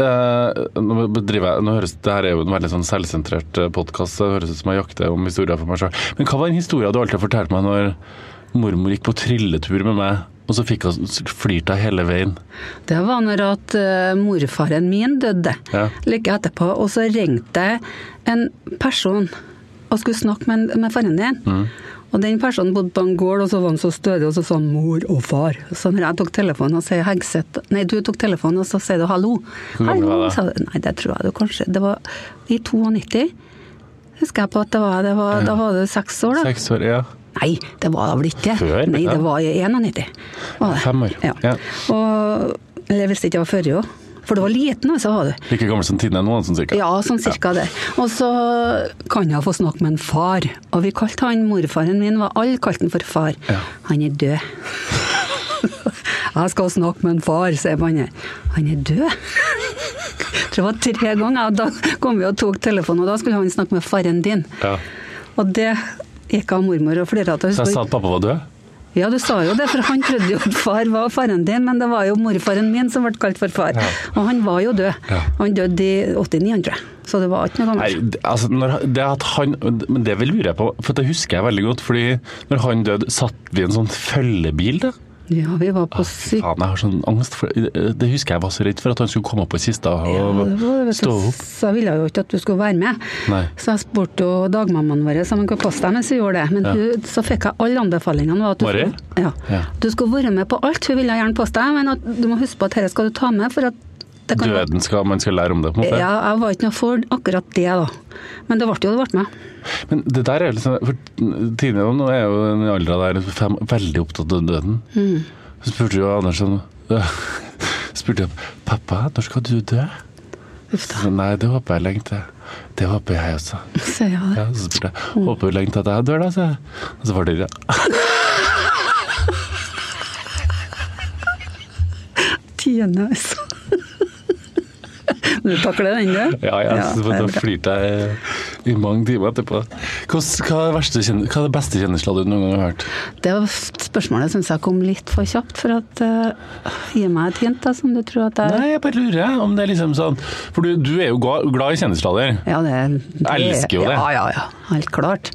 Speaker 3: eh, nå bedriver jeg Nå høres det her er jo en veldig sånn selvsentrert podkast, det høres ut som jeg jakter om historier for meg sjøl. Men hva var den historien du alltid fortalte meg når mormor gikk på trilletur med meg, og så fikk hun flirte jeg hele veien.
Speaker 4: Det var når at eh, morfaren min døde
Speaker 3: Ja.
Speaker 4: like etterpå, og så ringte jeg en person og skulle snakke med, en- med faren din.
Speaker 3: Mm.
Speaker 4: Og den personen bodde på en gård, og så var han så stødig, og så sa han 'mor og far'. Så når jeg tok telefonen og sier Hegseth Nei, du tok telefonen, og så sier du 'hallo'.
Speaker 3: Hvor gammel var
Speaker 4: Hallo,
Speaker 3: det?
Speaker 4: sa du. Nei, det tror jeg du kanskje Det var i 92. Husker jeg på at det var, det var, Da var du seks år, da.
Speaker 3: Seks år, ja.
Speaker 4: Nei, det var da vel ikke.
Speaker 3: Før?
Speaker 4: Nei,
Speaker 3: Ja.
Speaker 4: det var i 91. Var det.
Speaker 3: Fem år.
Speaker 4: Ja.
Speaker 3: Ja.
Speaker 4: Og, eller hvis det ikke var før jo. For du var liten, altså, var du.
Speaker 3: Like gammel som Tine nå, sånn cirka.
Speaker 4: Ja, sånn cirka der. Og så kan jeg få snakke med en far. Og vi kalte han morfaren min, var alle kalte han for far.
Speaker 3: Ja.
Speaker 4: Han er død. jeg skal snakke med en far, sier jeg på han her. Han er død. Jeg tror det var tre ganger, og da kom vi og tok telefonen, og da skulle han snakke med faren din.
Speaker 3: Ja.
Speaker 4: Og det gikk av mormor og flira av.
Speaker 3: Så jeg sa at pappa var død.
Speaker 4: Ja, du sa jo det, for han trodde jo at far var faren din, men det var jo morfaren min som ble kalt for far. Og han var jo død.
Speaker 3: Ja.
Speaker 4: Han døde i 89, tror jeg. Så det var ikke noe
Speaker 3: Nei,
Speaker 4: gammelt.
Speaker 3: det- altså, når, han- det at han, men det lurer jeg på, for det husker jeg veldig godt. fordi når han døde, satt vi i en sånn følgebil da?
Speaker 4: Ja, vi var på
Speaker 3: Fy
Speaker 4: syk...
Speaker 3: faen, jeg har sånn angst for Det husker jeg var så redd for at han skulle komme opp i kista
Speaker 4: Ja,
Speaker 3: og
Speaker 4: det var, vet du,
Speaker 3: stå opp.
Speaker 4: så jeg ville jo ikke at du skulle være med.
Speaker 3: Nei.
Speaker 4: Så jeg spurte jo dagmammaen vår om hun kunne passe deg mens hun gjorde det. Men hun, så fikk jeg alle anbefalingene. var At du,
Speaker 3: Mari?
Speaker 4: skulle- ja,
Speaker 3: Ja.
Speaker 4: du skulle være med på alt. Hun ville gjerne passe deg, men at, du må huske på at dette skal du ta med. for at det kan være-
Speaker 3: Døden skal Man skal lære om det, på en måte.
Speaker 4: Ja, jeg var ikke noe for akkurat det, da. Men det ble jo det ble med.
Speaker 3: Men det der er jo liksom For Tine nå er jo i den alderen der fem, veldig opptatt av døden.
Speaker 4: Mm.
Speaker 3: Så spurte jo Andersen [laughs] Spurte jeg pappa, når skal du dø?
Speaker 4: Uff da,
Speaker 3: Så, Nei, det håper jeg lenge til. Det håper jeg også.
Speaker 4: sier jeg det.
Speaker 3: Ja, så spurte jeg håper du lenge til at jeg dør, da? sa jeg. Og så var det det.
Speaker 4: Tiende, altså. Men du takler den, du?
Speaker 3: Ja, ja, så
Speaker 4: det er
Speaker 3: da
Speaker 4: bra.
Speaker 3: flirte jeg i mange timer etterpå. Hvordan- Hva er, det verste, kjen- hva er det beste kjennelsen du noen gang har hørt?
Speaker 4: Det var spørsmålet syns jeg kom litt for kjapt, for at eh, Gi meg et hint, da, som du tror at jeg
Speaker 3: Nei, jeg bare lurer jeg, om det er liksom sånn For du, du er jo ga- glad i kjendislader.
Speaker 4: Ja, det, det
Speaker 3: Jeg elsker jo det.
Speaker 4: Ja, ja, ja. Helt klart.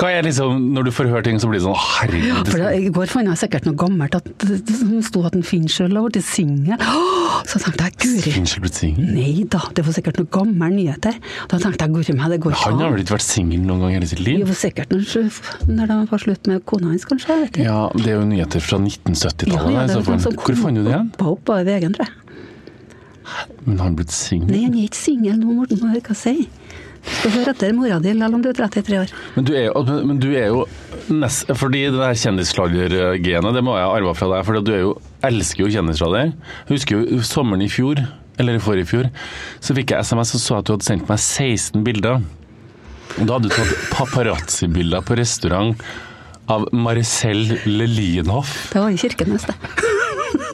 Speaker 3: Hva er liksom Når du får høre ting, så blir det sånn Herregud.
Speaker 4: For da- I går fant jeg sikkert noe gammelt at det det sto at en Finnsjøl har blitt singel. Åh, Så tenkte jeg guri.
Speaker 3: Fincher blitt singel?
Speaker 4: Nei da, det var sikkert noen gamle nyheter. Da tenkte jeg guri meg, det går ikke
Speaker 3: Han har
Speaker 4: an.
Speaker 3: vel ikke vært singel noen gang i hele sitt
Speaker 4: Det
Speaker 3: liv?
Speaker 4: var sikkert når, når de var slutt med kona hans, kanskje. jeg vet ikke.
Speaker 3: Ja, det er jo nyheter fra 1970-tallet.
Speaker 4: Ja, ja,
Speaker 3: i
Speaker 4: det
Speaker 3: så
Speaker 4: var
Speaker 3: fall.
Speaker 4: sånn som
Speaker 3: Hvor fant du det igjen?
Speaker 4: Hoppa opp av vegen, tror jeg.
Speaker 3: Men han er blitt
Speaker 4: Nei,
Speaker 3: singel?
Speaker 4: han er ikke singel nå, Morten. Må høre hva jeg sier. Du skal høre etter mora di, selv om du er 33 år.
Speaker 3: Men du er jo, men du er jo nest, Fordi det der kjendisslagergenet, det må jeg ha arva fra deg. For du er jo, elsker jo kjendislager. Jeg husker jo sommeren i fjor, eller i forrige fjor, så fikk jeg SMS og så at du hadde sendt meg 16 bilder. Og da hadde du tatt paparazzi-bilder på restaurant av Marcel Lelinhoff.
Speaker 4: Det var i Kirkenes, det. [laughs]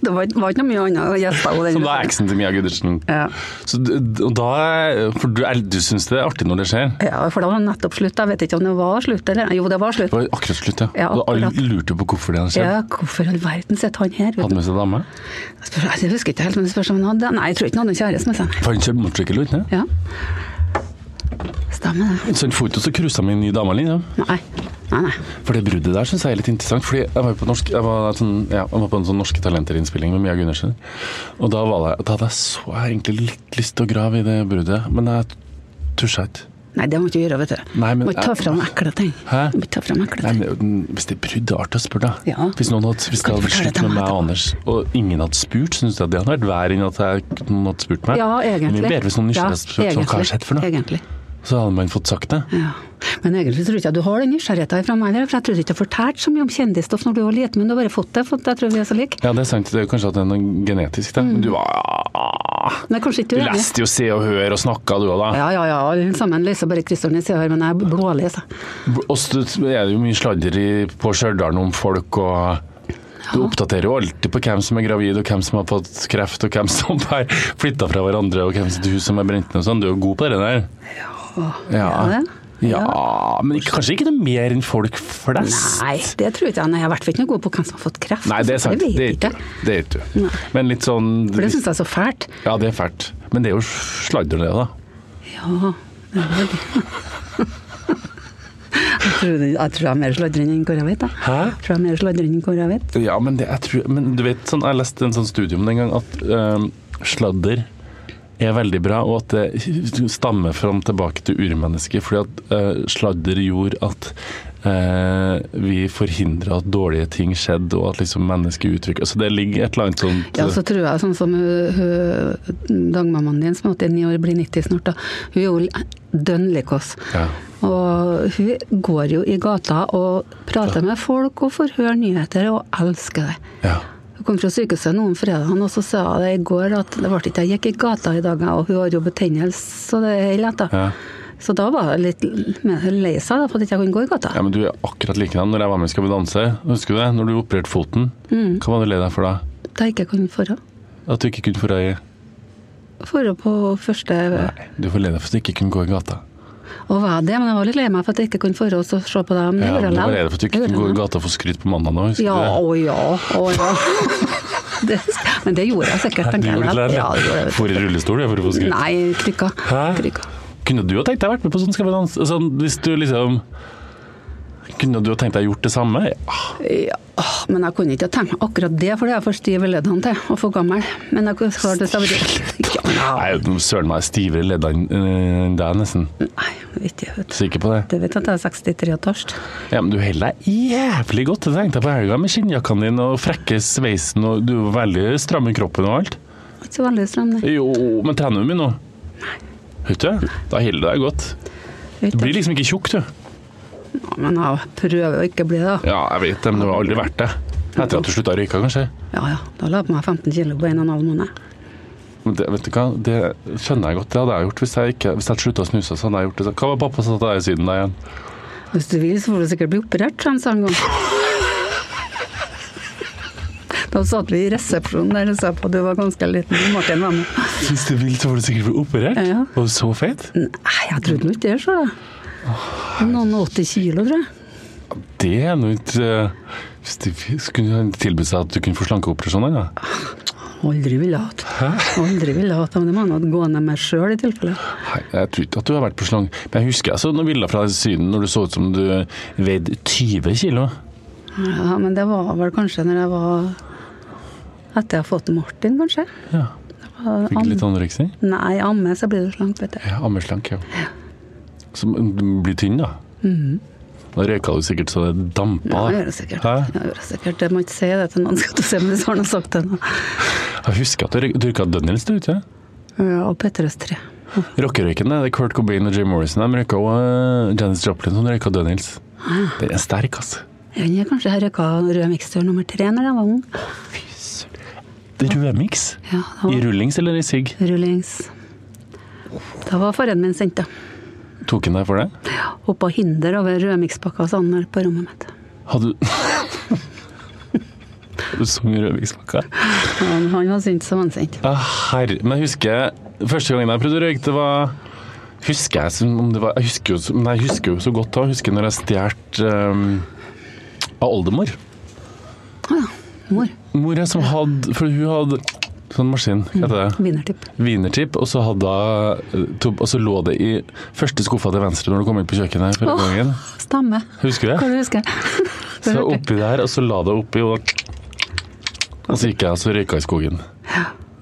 Speaker 4: Det var, var ikke noe mye annet gjester.
Speaker 3: Som da er eksen til Mia Gudersen.
Speaker 4: Ja.
Speaker 3: Så d- d- og da, for du, er- du syns det er artig når det skjer?
Speaker 4: ja, for da var det nettopp slutt. Jeg vet ikke om det var slutt, eller Jo, det var
Speaker 3: Det
Speaker 4: slutt.
Speaker 3: var akkurat slutt, ja.
Speaker 4: Ja,
Speaker 3: Og alle
Speaker 4: akkurat.
Speaker 3: lurte jo på hvorfor det hadde skjedd.
Speaker 4: Ja, hvorfor i all verden sitter han her? Vet
Speaker 3: Hadde
Speaker 4: du?
Speaker 3: med seg dame.
Speaker 4: Jeg spør- Jeg husker ikke helt, men jeg spørs om han hadde Nei, jeg tror ikke han hadde kjæreste med seg.
Speaker 3: For han kjørte motorsykkel ut, ja. sånn
Speaker 4: Ja. Stemmer det.
Speaker 3: Så han får ikke også cruisa med en ny dame, liksom.
Speaker 4: Nei. Nei, nei.
Speaker 3: For det bruddet der syns jeg er litt interessant. Fordi jeg var, jo på norsk, jeg var, sånn, ja, jeg var på en sånn Norske Talenter-innspilling med Mia Gundersen. Og da, var det, da hadde jeg så jeg egentlig litt lyst til å grave i det bruddet, men jeg tusja ikke.
Speaker 4: Nei, det må ikke du gjøre, vet du.
Speaker 3: Nei, men-
Speaker 4: må ikke ta fram ekle ting.
Speaker 3: Hæ?
Speaker 4: Må ikke ta fram ekle
Speaker 3: Nei,
Speaker 4: ting.
Speaker 3: men mm, Hvis det er brudd, det er artig å spørre, da.
Speaker 4: Ja.
Speaker 3: Hvis, noen hadde, hvis det
Speaker 4: Kan du
Speaker 3: hadde vært
Speaker 4: fortelle
Speaker 3: slutt
Speaker 4: det til
Speaker 3: med
Speaker 4: meg
Speaker 3: meg og
Speaker 4: etterpå?
Speaker 3: Anders, og ingen hadde spurt, syns jeg det hadde vært verre enn at jeg, noen hadde spurt meg.
Speaker 4: Ja, egentlig.
Speaker 3: Men det er bedre hvis noen nysgjerrig hadde spurt sånn, hva har skjedd for noe?
Speaker 4: Egentlig.
Speaker 3: Så hadde man fått sagt det.
Speaker 4: Ja. Men egentlig tror jeg ikke at du har den nysgjerrigheten fra meg heller, for jeg tror ikke jeg fortalte så mye om kjendisstoff når du var liten, men du har bare fått det, for jeg tror vi er så like.
Speaker 3: Ja, det er sant. Det er jo kanskje at det er noe genetisk, da. Men du var
Speaker 4: Men kanskje ikke
Speaker 3: Du
Speaker 4: du Mm. er enig?
Speaker 3: leste jo Se og Hør og snakka, du òg, da.
Speaker 4: Ja, ja, ja, alle sammen leser bare Kristian i sida her, men jeg er blåleser.
Speaker 3: Og så er det jo mye sladder i, på Stjørdal om folk og du oppdaterer jo alltid på hvem som er gravid, og hvem som har fått kreft, og hvem som har flytta fra hverandre, og hvem sitt hus som er brent ned og sånn. Du er jo god på det der.
Speaker 4: Ja, det.
Speaker 3: Ja, men ikke, kanskje ikke noe mer enn folk flest?
Speaker 4: Nei, det tror jeg ikke. Nei, jeg er i hvert fall ikke noe god på hvem som har fått kreft.
Speaker 3: Nei, det er sant.
Speaker 4: vet
Speaker 3: Det er
Speaker 4: jeg
Speaker 3: ikke
Speaker 4: ikke.
Speaker 3: du. Det er ikke du. Men litt sånn
Speaker 4: For det syns jeg er så fælt.
Speaker 3: Ja, det er fælt. Men det er jo sladder, det, da.
Speaker 4: Ja, det er veldig tror, det- [laughs] jeg tror jeg er mer sladrende enn hvor jeg vet. Jeg.
Speaker 3: Hæ?
Speaker 4: jeg tror jeg er mer sladrende enn hvor jeg vet.
Speaker 3: Ja, men, det, jeg tror, men du vet, sånn, jeg leste en sånn studie om det en gang, at øhm, sladder er veldig bra, og at det [laughs] stammer fram tilbake til urmennesket, fordi at øh, sladder gjorde at øh, vi forhindra at dårlige ting skjedde, og at liksom mennesket uttrykket Så det ligger et eller annet sånt
Speaker 4: Ja, så tror jeg sånn som hun- hun dagmammaen din, som er 89 år, blir 90 snart, da. Hun er jo dønn lik oss.
Speaker 3: Ja.
Speaker 4: Og hun går jo i gata og prater med folk og får høre nyheter, og elsker det.
Speaker 3: ja.
Speaker 4: Hun kom fra sykehuset noen fredag, og så sa hun det i går at det ble ikke jeg gikk i gata i dag, jeg, og hun har jo betennelse, så det er helt lett, da.
Speaker 3: Ja.
Speaker 4: Så da var jeg litt mer lei seg da, for at jeg ikke kunne gå i gata.
Speaker 3: Ja, men Du er akkurat likedan når jeg var med i Skal vi danse. Husker du det? Når du opererte foten. Hva var du lei deg for da?
Speaker 4: Da jeg ikke kunne forra.
Speaker 3: At du ikke kunne få øye?
Speaker 4: Forra på første
Speaker 3: Nei, du var lei deg for at du ikke kunne gå i gata.
Speaker 4: Og var det, men jeg var litt lei meg for at jeg ikke kunne forra og så se på dem.
Speaker 3: Ja, men du var lei deg for at du ikke kunne gå i
Speaker 4: gata.
Speaker 3: gata og få skryt på mandag nå. husker
Speaker 4: Ja,
Speaker 3: du det?
Speaker 4: å ja, å ja. [laughs] det, men det gjorde jeg sikkert,
Speaker 3: Du
Speaker 4: tenker jeg.
Speaker 3: gjorde
Speaker 4: vel.
Speaker 3: det,
Speaker 4: Ja, det gjorde
Speaker 3: eller?
Speaker 4: jeg.
Speaker 3: For i rullestol, ja, for å få skryt.
Speaker 4: Nei, krykka.
Speaker 3: Hæ?
Speaker 4: krykka.
Speaker 3: Kunne du ha tenkt deg å vært med på sånn Skal vi danse? Sånn, hvis du liksom Kunne du ha tenkt deg gjort det samme? Ja.
Speaker 4: Ja, åh, men jeg kunne ikke tenkt meg akkurat det, for det er jeg for stiv i leddene til, og for gammel. Men jeg kunne svart det så jeg var- ja, men
Speaker 3: Nei,
Speaker 4: jeg-
Speaker 3: søren meg, stivere i leddene enn deg, nesten.
Speaker 4: Nei, jeg vet ikke, vet du.
Speaker 3: Sikker på det?
Speaker 4: Det vet jeg at jeg er 63 og tørst.
Speaker 3: Ja, men du holder deg jævlig godt. Det tenkte jeg på helga med skinnjakkene dine og frekke sveisen og du er veldig stram i kroppen og alt.
Speaker 4: Ikke så veldig stram, nei.
Speaker 3: Jo, men trener du mye nå? Vet du? Da holder du deg godt.
Speaker 4: Jeg
Speaker 3: Du
Speaker 4: vet
Speaker 3: blir
Speaker 4: det.
Speaker 3: liksom ikke tjukk, du.
Speaker 4: Ja, Men jeg prøver å ikke bli det, da.
Speaker 3: Ja, jeg vet det, men du har aldri vært det. Etter at du slutta å røyke, kanskje.
Speaker 4: Ja ja, da la jeg på meg 15 kilo på en og en halv måned.
Speaker 3: Men det, vet du hva, det skjønner jeg godt. Det hadde jeg gjort hvis jeg ikke Hvis jeg slutta å snuse. så hadde jeg gjort det. Hva var pappa sa til deg siden da igjen?
Speaker 4: Hvis du vil, så får du sikkert bli operert, sa han sa en gang. Da satt vi i resepsjonen der og sa på at du var ganske liten. Martin var med.
Speaker 3: Hvis du vil, så får du sikkert bli operert.
Speaker 4: Ja.
Speaker 3: Og så feit.
Speaker 4: Nei, jeg trodde nå ikke det, så da. Noen og 80 kilo, tror jeg.
Speaker 3: Det er nå ikke eh, Hvis de skulle tilbudt seg at du kunne få slankeoperasjon en gang.
Speaker 4: Aldri ville hatt. Aldri ville hatt, men det må jeg nå gå ned med sjøl i tilfelle.
Speaker 3: Nei, jeg tror ikke at du har vært på slang. Men jeg husker jeg så noen bilder fra Syden når du så ut som du veide 20 kilo.
Speaker 4: Ja, men det var vel kanskje når jeg var Etter jeg har fått Martin, kanskje.
Speaker 3: Ja.
Speaker 4: Am-
Speaker 3: Fikk litt anoreksi.
Speaker 4: Nei, amme, så blir du slank, vet du.
Speaker 3: Ja, Ammeslank, ja. Så du blir tynn, da. Da røyka du sikkert så det dampa.
Speaker 4: Mhm. Ja,
Speaker 3: da.
Speaker 4: jeg gjør det sikkert.
Speaker 3: Hæ?
Speaker 4: Jeg gjør det sikkert. Jeg må ikke si det til noen, skal du se om du har noe sagt til noen.
Speaker 3: Jeg husker at du røy- du røyka Dønnels, du, ikke
Speaker 4: Ja, Eh, og Petrus 3.
Speaker 3: Rockerøyken, det er Kurt Cobain og Jim Morrison. De røyka også eh, Janis Joplin, som røyka Dønnels.
Speaker 4: Ah.
Speaker 3: Den er sterk, altså.
Speaker 4: Den er kanskje her røyka rød mikstur nummer tre når jeg var ung.
Speaker 3: Rødmix.
Speaker 4: Ja, da
Speaker 3: I
Speaker 4: var
Speaker 3: rullings eller i sigg?
Speaker 4: rullings. Da var faren min sendt, da.
Speaker 3: Tok han deg for det?
Speaker 4: Hoppa hinder over rødmikspakka sa han når på rommet mitt.
Speaker 3: Hadde du [laughs] Du sang rødmikspakka?
Speaker 4: Han, han var sint som han sint.
Speaker 3: Ja, Ah, herre Men jeg husker første gangen jeg prøvde å røyke, det var Husker jeg som om det var Jeg husker jo, så- men jeg husker jo så godt da. Jeg husker når jeg stjal ehm, av oldemor.
Speaker 4: Mor.
Speaker 3: Mora som hadde For hun hadde sånn maskin, hva heter
Speaker 4: Mm.
Speaker 3: det?
Speaker 4: Vinnertipp.
Speaker 3: Wienerchip, og så hadde hun tob- Og så lå det i første skuffa til venstre når du kom inn på kjøkkenet første
Speaker 4: Åh.
Speaker 3: gangen.
Speaker 4: Stamme.
Speaker 3: Husker du
Speaker 4: Hva
Speaker 3: det?
Speaker 4: du husker
Speaker 3: Så
Speaker 4: hørte jeg.
Speaker 3: oppi der, og så la det oppi, og og så gikk jeg og så røyka i skogen.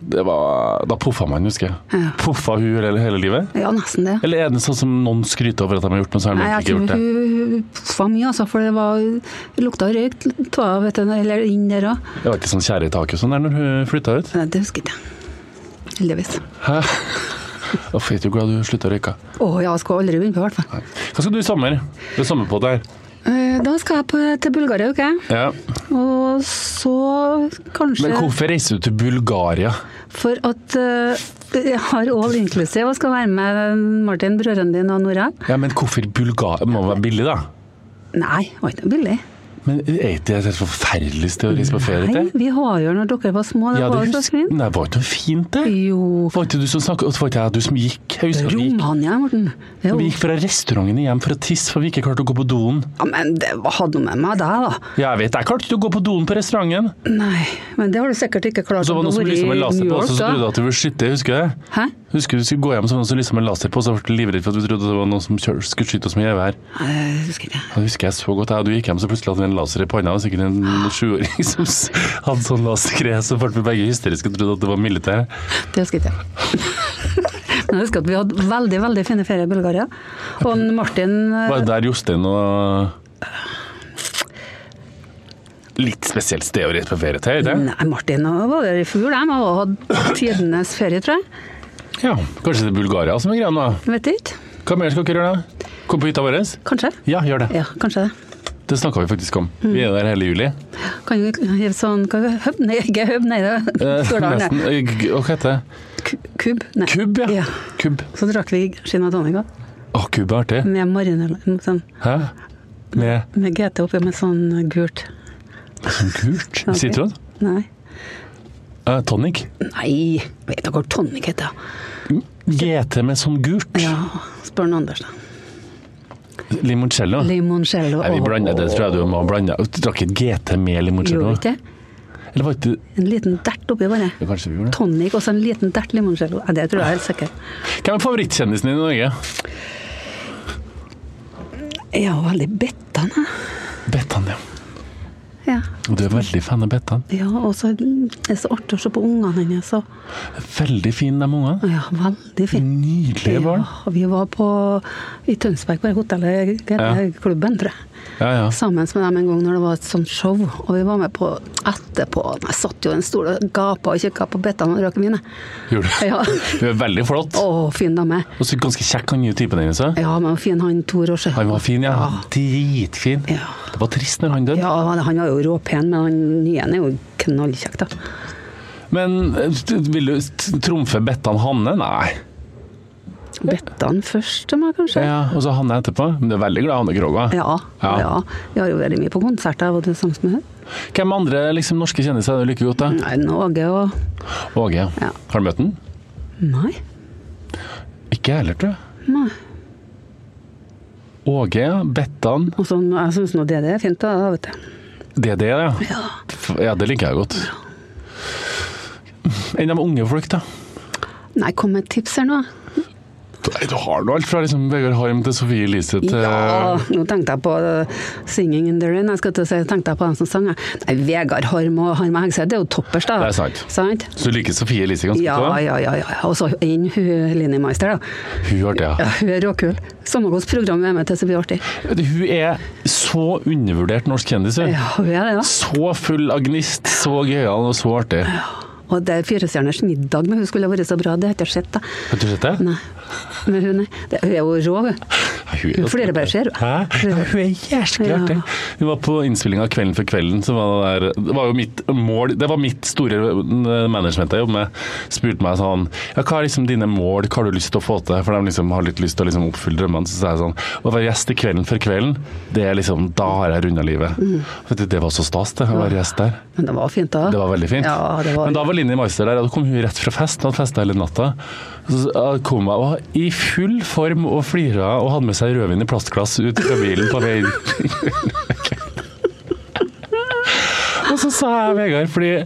Speaker 3: Det var, da poffa man, husker jeg.
Speaker 4: Ja.
Speaker 3: Poffa hun hele, hele livet?
Speaker 4: Ja, nesten det.
Speaker 3: Eller er det sånn som noen skryter over at de har gjort noe, så har de
Speaker 4: Nei, jeg
Speaker 3: ikke
Speaker 4: tror
Speaker 3: gjort det?
Speaker 4: hun puffa mye, altså, for det var det lukta røyk tva, vet du, eller inn der òg.
Speaker 3: Det var ikke sånn tjære i taket og sånn der når hun flytta ut?
Speaker 4: Nei, det husker jeg ikke. Heldigvis.
Speaker 3: Hæ? Uff, jeg er ikke glad du slutta å røyke.
Speaker 4: Å ja, jeg skulle aldri begynne på, i hvert fall.
Speaker 3: Nei. Hva skal du i sommer? Det er sommerpod her.
Speaker 4: Eh, Da skal jeg på, til Bulgaria, ok?
Speaker 3: Ja.
Speaker 4: Og så kanskje
Speaker 3: Men hvorfor reiser du til Bulgaria?
Speaker 4: For at eh, jeg har all inclusive og skal være med Martin, broren din og Nora.
Speaker 3: Ja, men hvorfor Bulgaria? Det må være billig, da?
Speaker 4: Nei, det var ikke noe billig.
Speaker 3: Men er ikke det et helt forferdelig sted å reise på ferie
Speaker 4: Nei,
Speaker 3: til?
Speaker 4: vi har jo når dere var små, det
Speaker 3: Ja,
Speaker 4: var
Speaker 3: det
Speaker 4: jo så
Speaker 3: husker-
Speaker 4: fint.
Speaker 3: Nei, var ikke noe fint, det?
Speaker 4: Jo,
Speaker 3: Var ikke du som snakket, og så var ikke jeg du som gikk? Jeg husker at vi gikk,
Speaker 4: Romania, Morten. Det er
Speaker 3: vi
Speaker 4: jo-
Speaker 3: gikk fra restauranten hjem for å tisse, for vi ikke klarte å gå på doen.
Speaker 4: Ja, men det var- hadde noe med meg da, da.
Speaker 3: Ja, jeg vet, jeg klarte ikke å gå på doen på restauranten.
Speaker 4: Nei, men det har du sikkert ikke
Speaker 3: Og
Speaker 4: klart.
Speaker 3: så var det
Speaker 4: om
Speaker 3: noen
Speaker 4: du
Speaker 3: som liksom
Speaker 4: har vært i
Speaker 3: en laser
Speaker 4: New
Speaker 3: på oss, og
Speaker 4: York,
Speaker 3: så
Speaker 4: da.
Speaker 3: trodde jeg at du ville skyte, husker jeg.
Speaker 4: Hæ?
Speaker 3: Husker du skulle gå hjem så var det noen som lyste med laser på, så jeg ble livredd for at vi trodde det var noen som kjør, skulle skyte oss med gevær.
Speaker 4: Nei, det husker ikke.
Speaker 3: Ja, Det husker jeg så godt. Jeg og du gikk hjem, så plutselig hadde vi en laser i panna. Det var Sikkert
Speaker 4: Ah.
Speaker 3: en sjuåring som s- hadde sånn lasergreie, så ble vi begge hysteriske og trodde at det var militæret.
Speaker 4: Det husker ikke jeg. Men jeg [laughs] husker at vi hadde veldig veldig fine ferier i Bulgaria. Og Martin eh,
Speaker 3: Var det der Jostein og Litt spesielt sted å reise på ferie til, ikke
Speaker 4: Nei, Martin og- var der i fjor, de har hatt tidenes ferie, tror jeg.
Speaker 3: Ja. Kanskje det er Bulgaria som er greia nå?
Speaker 4: Vet ikke.
Speaker 3: Hva mer skal dere gjøre da? Kom på hytta vår?
Speaker 4: Kanskje.
Speaker 3: Ja, gjør det.
Speaker 4: Ja, kanskje det.
Speaker 3: Det snakka vi faktisk om. Vi er der hele juli.
Speaker 4: Kan jo hive sånn hva, høb, nei, ikke høb, nei, det
Speaker 3: Eh,
Speaker 4: står der,
Speaker 3: nesten.
Speaker 4: nei.
Speaker 3: Eh, g- Hva heter det?
Speaker 4: Ku- Kubb? Nei.
Speaker 3: Kubb, ja.
Speaker 4: Ja.
Speaker 3: Kubb.
Speaker 4: Så drakk vi gin og tonic også,
Speaker 3: Å, kubb er artig.
Speaker 4: med marinella, sånn,
Speaker 3: Hæ? Med
Speaker 4: med GT oppi med sånn gult.
Speaker 3: sånn gult
Speaker 4: Ok.
Speaker 3: sitron?
Speaker 4: Nei.
Speaker 3: Eh, tonic?
Speaker 4: Nei, vet dere hva tonic heter?
Speaker 3: GT med sånn gult?
Speaker 4: Ja, spør noen Anders da.
Speaker 3: Limoncello?
Speaker 4: Limoncello.
Speaker 3: Nei, vi
Speaker 4: og-
Speaker 3: blanda det, tror jeg du må blande. Du drakk ikke GT med limoncello?
Speaker 4: Gjorde vi ikke det?
Speaker 3: Eller var ikke
Speaker 4: En liten dert oppi bare.
Speaker 3: Ja, Kanskje vi gjorde det.
Speaker 4: Tonic og så en liten dert limoncello. Ja, det tror jeg er helt sikkert.
Speaker 3: Hvem er favorittkjendisen din i Norge?
Speaker 4: Jeg var veldig bettan, jeg.
Speaker 3: Bettan, ja.
Speaker 4: Ja.
Speaker 3: Og Du er veldig fan av Bettan.
Speaker 4: Ja, og så er det så artig å se på ungene hennes. og-
Speaker 3: Veldig fin, de ungene.
Speaker 4: Ja, veldig fint.
Speaker 3: Nydelige barn.
Speaker 4: Ja, vi var på, i Tønsberg, på det hotellet,
Speaker 3: Ja.
Speaker 4: hele klubben, tror jeg.
Speaker 3: Ja, ja.
Speaker 4: Sammen med dem en gang når det var et sånt show, og vi var med på etterpå. og Jeg satt jo i en stol og gapa og kikka på Bettan og drakk vin. jeg.
Speaker 3: Gjorde du?
Speaker 4: Ja.
Speaker 3: Du er veldig flott.
Speaker 4: Å, fin dame.
Speaker 3: Og så ganske kjekk han nye typen hennes. også.
Speaker 4: Ja, men fin han Tor Åsje.
Speaker 3: Han var fin, ja.
Speaker 4: Ja.
Speaker 3: Dritfin.
Speaker 4: Ja.
Speaker 3: Det var trist når han døde.
Speaker 4: Ja, han var jo råpen, men han nye er jo knallkjekk, da.
Speaker 3: Men eh, t- vil du t- trumfe Bettan Hanne? Nei.
Speaker 4: Bettan først til meg, kanskje.
Speaker 3: Ja, og så Hanne etterpå. Men du er veldig glad i Hanne Krogh? også.
Speaker 4: Ja,
Speaker 3: Ja.
Speaker 4: ja. Vi har jo vært mye på konserter, og det sammen med henne.
Speaker 3: Hvem andre liksom, norske kjendiser er du like godt da?
Speaker 4: Nei, Åge og
Speaker 3: Åge.
Speaker 4: Ja.
Speaker 3: Har du møtt den?
Speaker 4: Nei.
Speaker 3: Ikke jeg heller, tror jeg.
Speaker 4: Nei.
Speaker 3: Åge, Bettan
Speaker 4: Og så, jeg syns nå det, det er fint, da, vet du.
Speaker 3: DD, ja.
Speaker 4: Ja.
Speaker 3: F- Ja, det liker jeg godt. Enn de unge folk, da?
Speaker 4: Nei, kom med et tips her nå.
Speaker 3: Nei, Du har nå alt fra liksom Vegard Harm til Sofie Elise til
Speaker 4: Ja, nå tenkte jeg på uh, 'Singing in the Rain'. Jeg skal til å si, tenkte jeg på den som sang. jeg. Nei, Vegard Harm og Harm og Hegseth, det er jo toppers, da.
Speaker 3: Det er sant. Så du liker Sofie Elise ganske
Speaker 4: Ja,
Speaker 3: godt? da?
Speaker 4: ja, ja. ja. Og så inn hun Linni Meister, da.
Speaker 3: Hun har det, ja.
Speaker 4: Ja, hun er råkul. Samme hvilket program vi er med til, så blir det artig.
Speaker 3: Vet du, Hun er så undervurdert norsk kjendis, hun.
Speaker 4: Ja, hun er det, ja.
Speaker 3: Så full av gnist, så gøyal og så artig.
Speaker 4: Og det er Firestjerners middag med hun skulle ha vært så bra, det har jeg ikke sett, da.
Speaker 3: Har du sett det?
Speaker 4: Nei. Men hun, nei. Det, hun er jo rå, hun. Hun flirer bare, ser du.
Speaker 3: Hæ? Ja, hun er jæsklig
Speaker 4: Ja.
Speaker 3: artig. Hun var på innspillinga Kvelden for kvelden. Så var det, der, det var jo mitt mål Det var mitt store management jeg jobbet med. Spurte meg sånn Ja, hva er liksom dine mål? Hva har du lyst til å få til? For de liksom har litt lyst til å liksom oppfylle drømmene. Så sa jeg sånn Å være gjest i Kvelden for kvelden, det er liksom Da har jeg runda livet.
Speaker 4: Mm.
Speaker 3: Vet du, det var så stas, det. Å være gjest der.
Speaker 4: Men det var fint, da.
Speaker 3: Det var veldig fint.
Speaker 4: Ja, det var
Speaker 3: Men da var Linni Meister der, og da kom hun rett fra fest. Hun hadde festa hele natta. Så da kom hun og var i full form og flira og hadde med seg rødvin i plastglass ut fra bilen på vei [laughs] inn. Og så sa jeg Vegard, fordi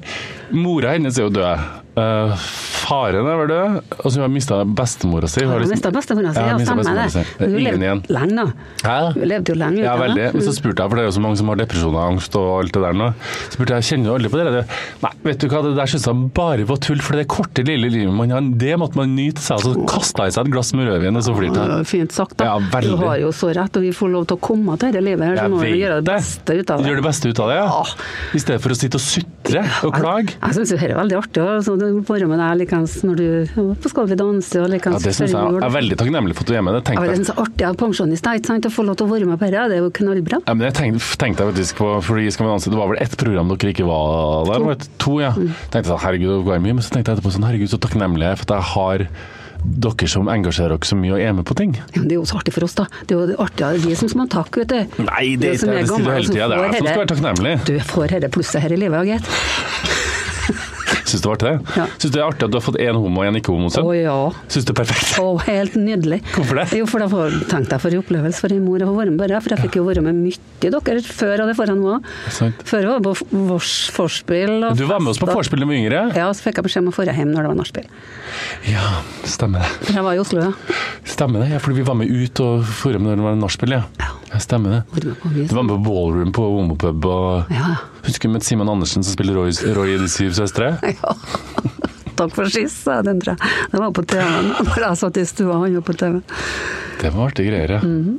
Speaker 3: mora hennes er jo død. Eh, faren er vel død. Og så har hun mista bestemora si. Hun har
Speaker 4: Hun
Speaker 3: liksom-
Speaker 4: mista bestemora si,
Speaker 3: Ja,
Speaker 4: ja,
Speaker 3: mistet
Speaker 4: stemmer
Speaker 3: bestemora
Speaker 4: det.
Speaker 3: si. Det er
Speaker 4: Hun
Speaker 3: Ingen
Speaker 4: levde
Speaker 3: igjen.
Speaker 4: lenge nå.
Speaker 3: Hæ?
Speaker 4: Hun levde jo lenge.
Speaker 3: Ja,
Speaker 4: uten Mm.
Speaker 3: veldig.
Speaker 4: det.
Speaker 3: Men så spurte jeg, for det er jo så mange som har depresjon og angst og alt det der nå. Så spurte jeg, kjenner du aldri på det? der?» Nei, vet du hva, det der synes jeg bare var tull, for det korte lille livet man har, det måtte man nyte seg. Og så kastet jeg i seg et glass med rødvin, og så flirte
Speaker 4: Det var
Speaker 3: jeg.
Speaker 4: Fint sagt, da.
Speaker 3: Ja, veldig.
Speaker 4: du har jo så rett, og vi får lov til å komme til dette livet, her, så
Speaker 3: Jeg
Speaker 4: må vi
Speaker 3: vet
Speaker 4: gjøre det beste ut av det.
Speaker 3: Gjør det beste ut av det,
Speaker 4: Ja.
Speaker 3: ja. I stedet for å sitte og sutre og klage.
Speaker 4: Jeg, jeg syns dette er veldig artig. og så det Være med deg likeens når du var på Skal vi danse og
Speaker 3: Ja,
Speaker 4: likeens
Speaker 3: det synes jeg
Speaker 4: før jul.
Speaker 3: jeg er veldig takknemlig for at du er med. Det
Speaker 4: Ja,
Speaker 3: tenkte
Speaker 4: men
Speaker 3: jeg.
Speaker 4: det synes jeg er artig. Jeg er pensjonist, da, ikke sant. Å få lov til å være med på dette, det er jo knallbra.
Speaker 3: Ja, men jeg tenkte, tenkte jeg faktisk på, fordi skal vi danse, det var vel ett program dere ikke var der? var det? To, ja.
Speaker 4: Mm.
Speaker 3: Tenkte sånn, herregud, det går mye, men så tenkte jeg etterpå sånn, herregud, så takknemlig jeg er for at jeg har dere som engasjerer dere så mye og er med på ting.
Speaker 4: Ja, men det er jo så artig for oss, da. Det er jo det artigere vi som skal ha takk, vet du.
Speaker 3: Nei, det,
Speaker 4: som
Speaker 3: det, det sier du
Speaker 4: gamle,
Speaker 3: hele
Speaker 4: som
Speaker 3: tida. Det er
Speaker 4: altså, får
Speaker 3: jeg som skal
Speaker 4: dette.
Speaker 3: være takknemlig.
Speaker 4: Du får dette plusset her i livet, gitt.
Speaker 3: Syns du det var artig? det?
Speaker 4: Ja.
Speaker 3: Syns du det er artig at du har fått én homo og én
Speaker 4: Å
Speaker 3: ikke-homo-sønn?
Speaker 4: ja.
Speaker 3: Syns du det er perfekt?
Speaker 4: [laughs] Å, helt nydelig.
Speaker 3: Hvorfor det?
Speaker 4: Jo, for da får, tenkte jeg for en opplevelse for en mor å få være med bare, for jeg fikk jo være med mye dere før, og det får jeg nå òg.
Speaker 3: Sant.
Speaker 4: Før var jeg på vors, vorspiel. og
Speaker 3: Du var med oss på
Speaker 4: fest, og-
Speaker 3: vorspiel da vi var yngre?
Speaker 4: Ja, så fikk jeg beskjed om å dra hjem når det var nachspiel.
Speaker 3: Ja, stemmer det.
Speaker 4: For jeg var i Oslo, ja.
Speaker 3: Stemmer det, ja, fordi vi var med ut og forum når det var nachspiel, ja. ja. Stemmer det.
Speaker 4: Var med på mye
Speaker 3: Du var
Speaker 4: sånn.
Speaker 3: med på ballroom på homopub og
Speaker 4: Ja, [laughs]
Speaker 3: Husker du møtte Simon Andersen som spiller Roy, Roy i De syv søstre?
Speaker 4: ja. Takk for sist, sa jeg, den tror jeg. Den var på TV-en. Når jeg satt i stua, han var på TV.
Speaker 3: Det var artige greier, ja.
Speaker 4: Mhm.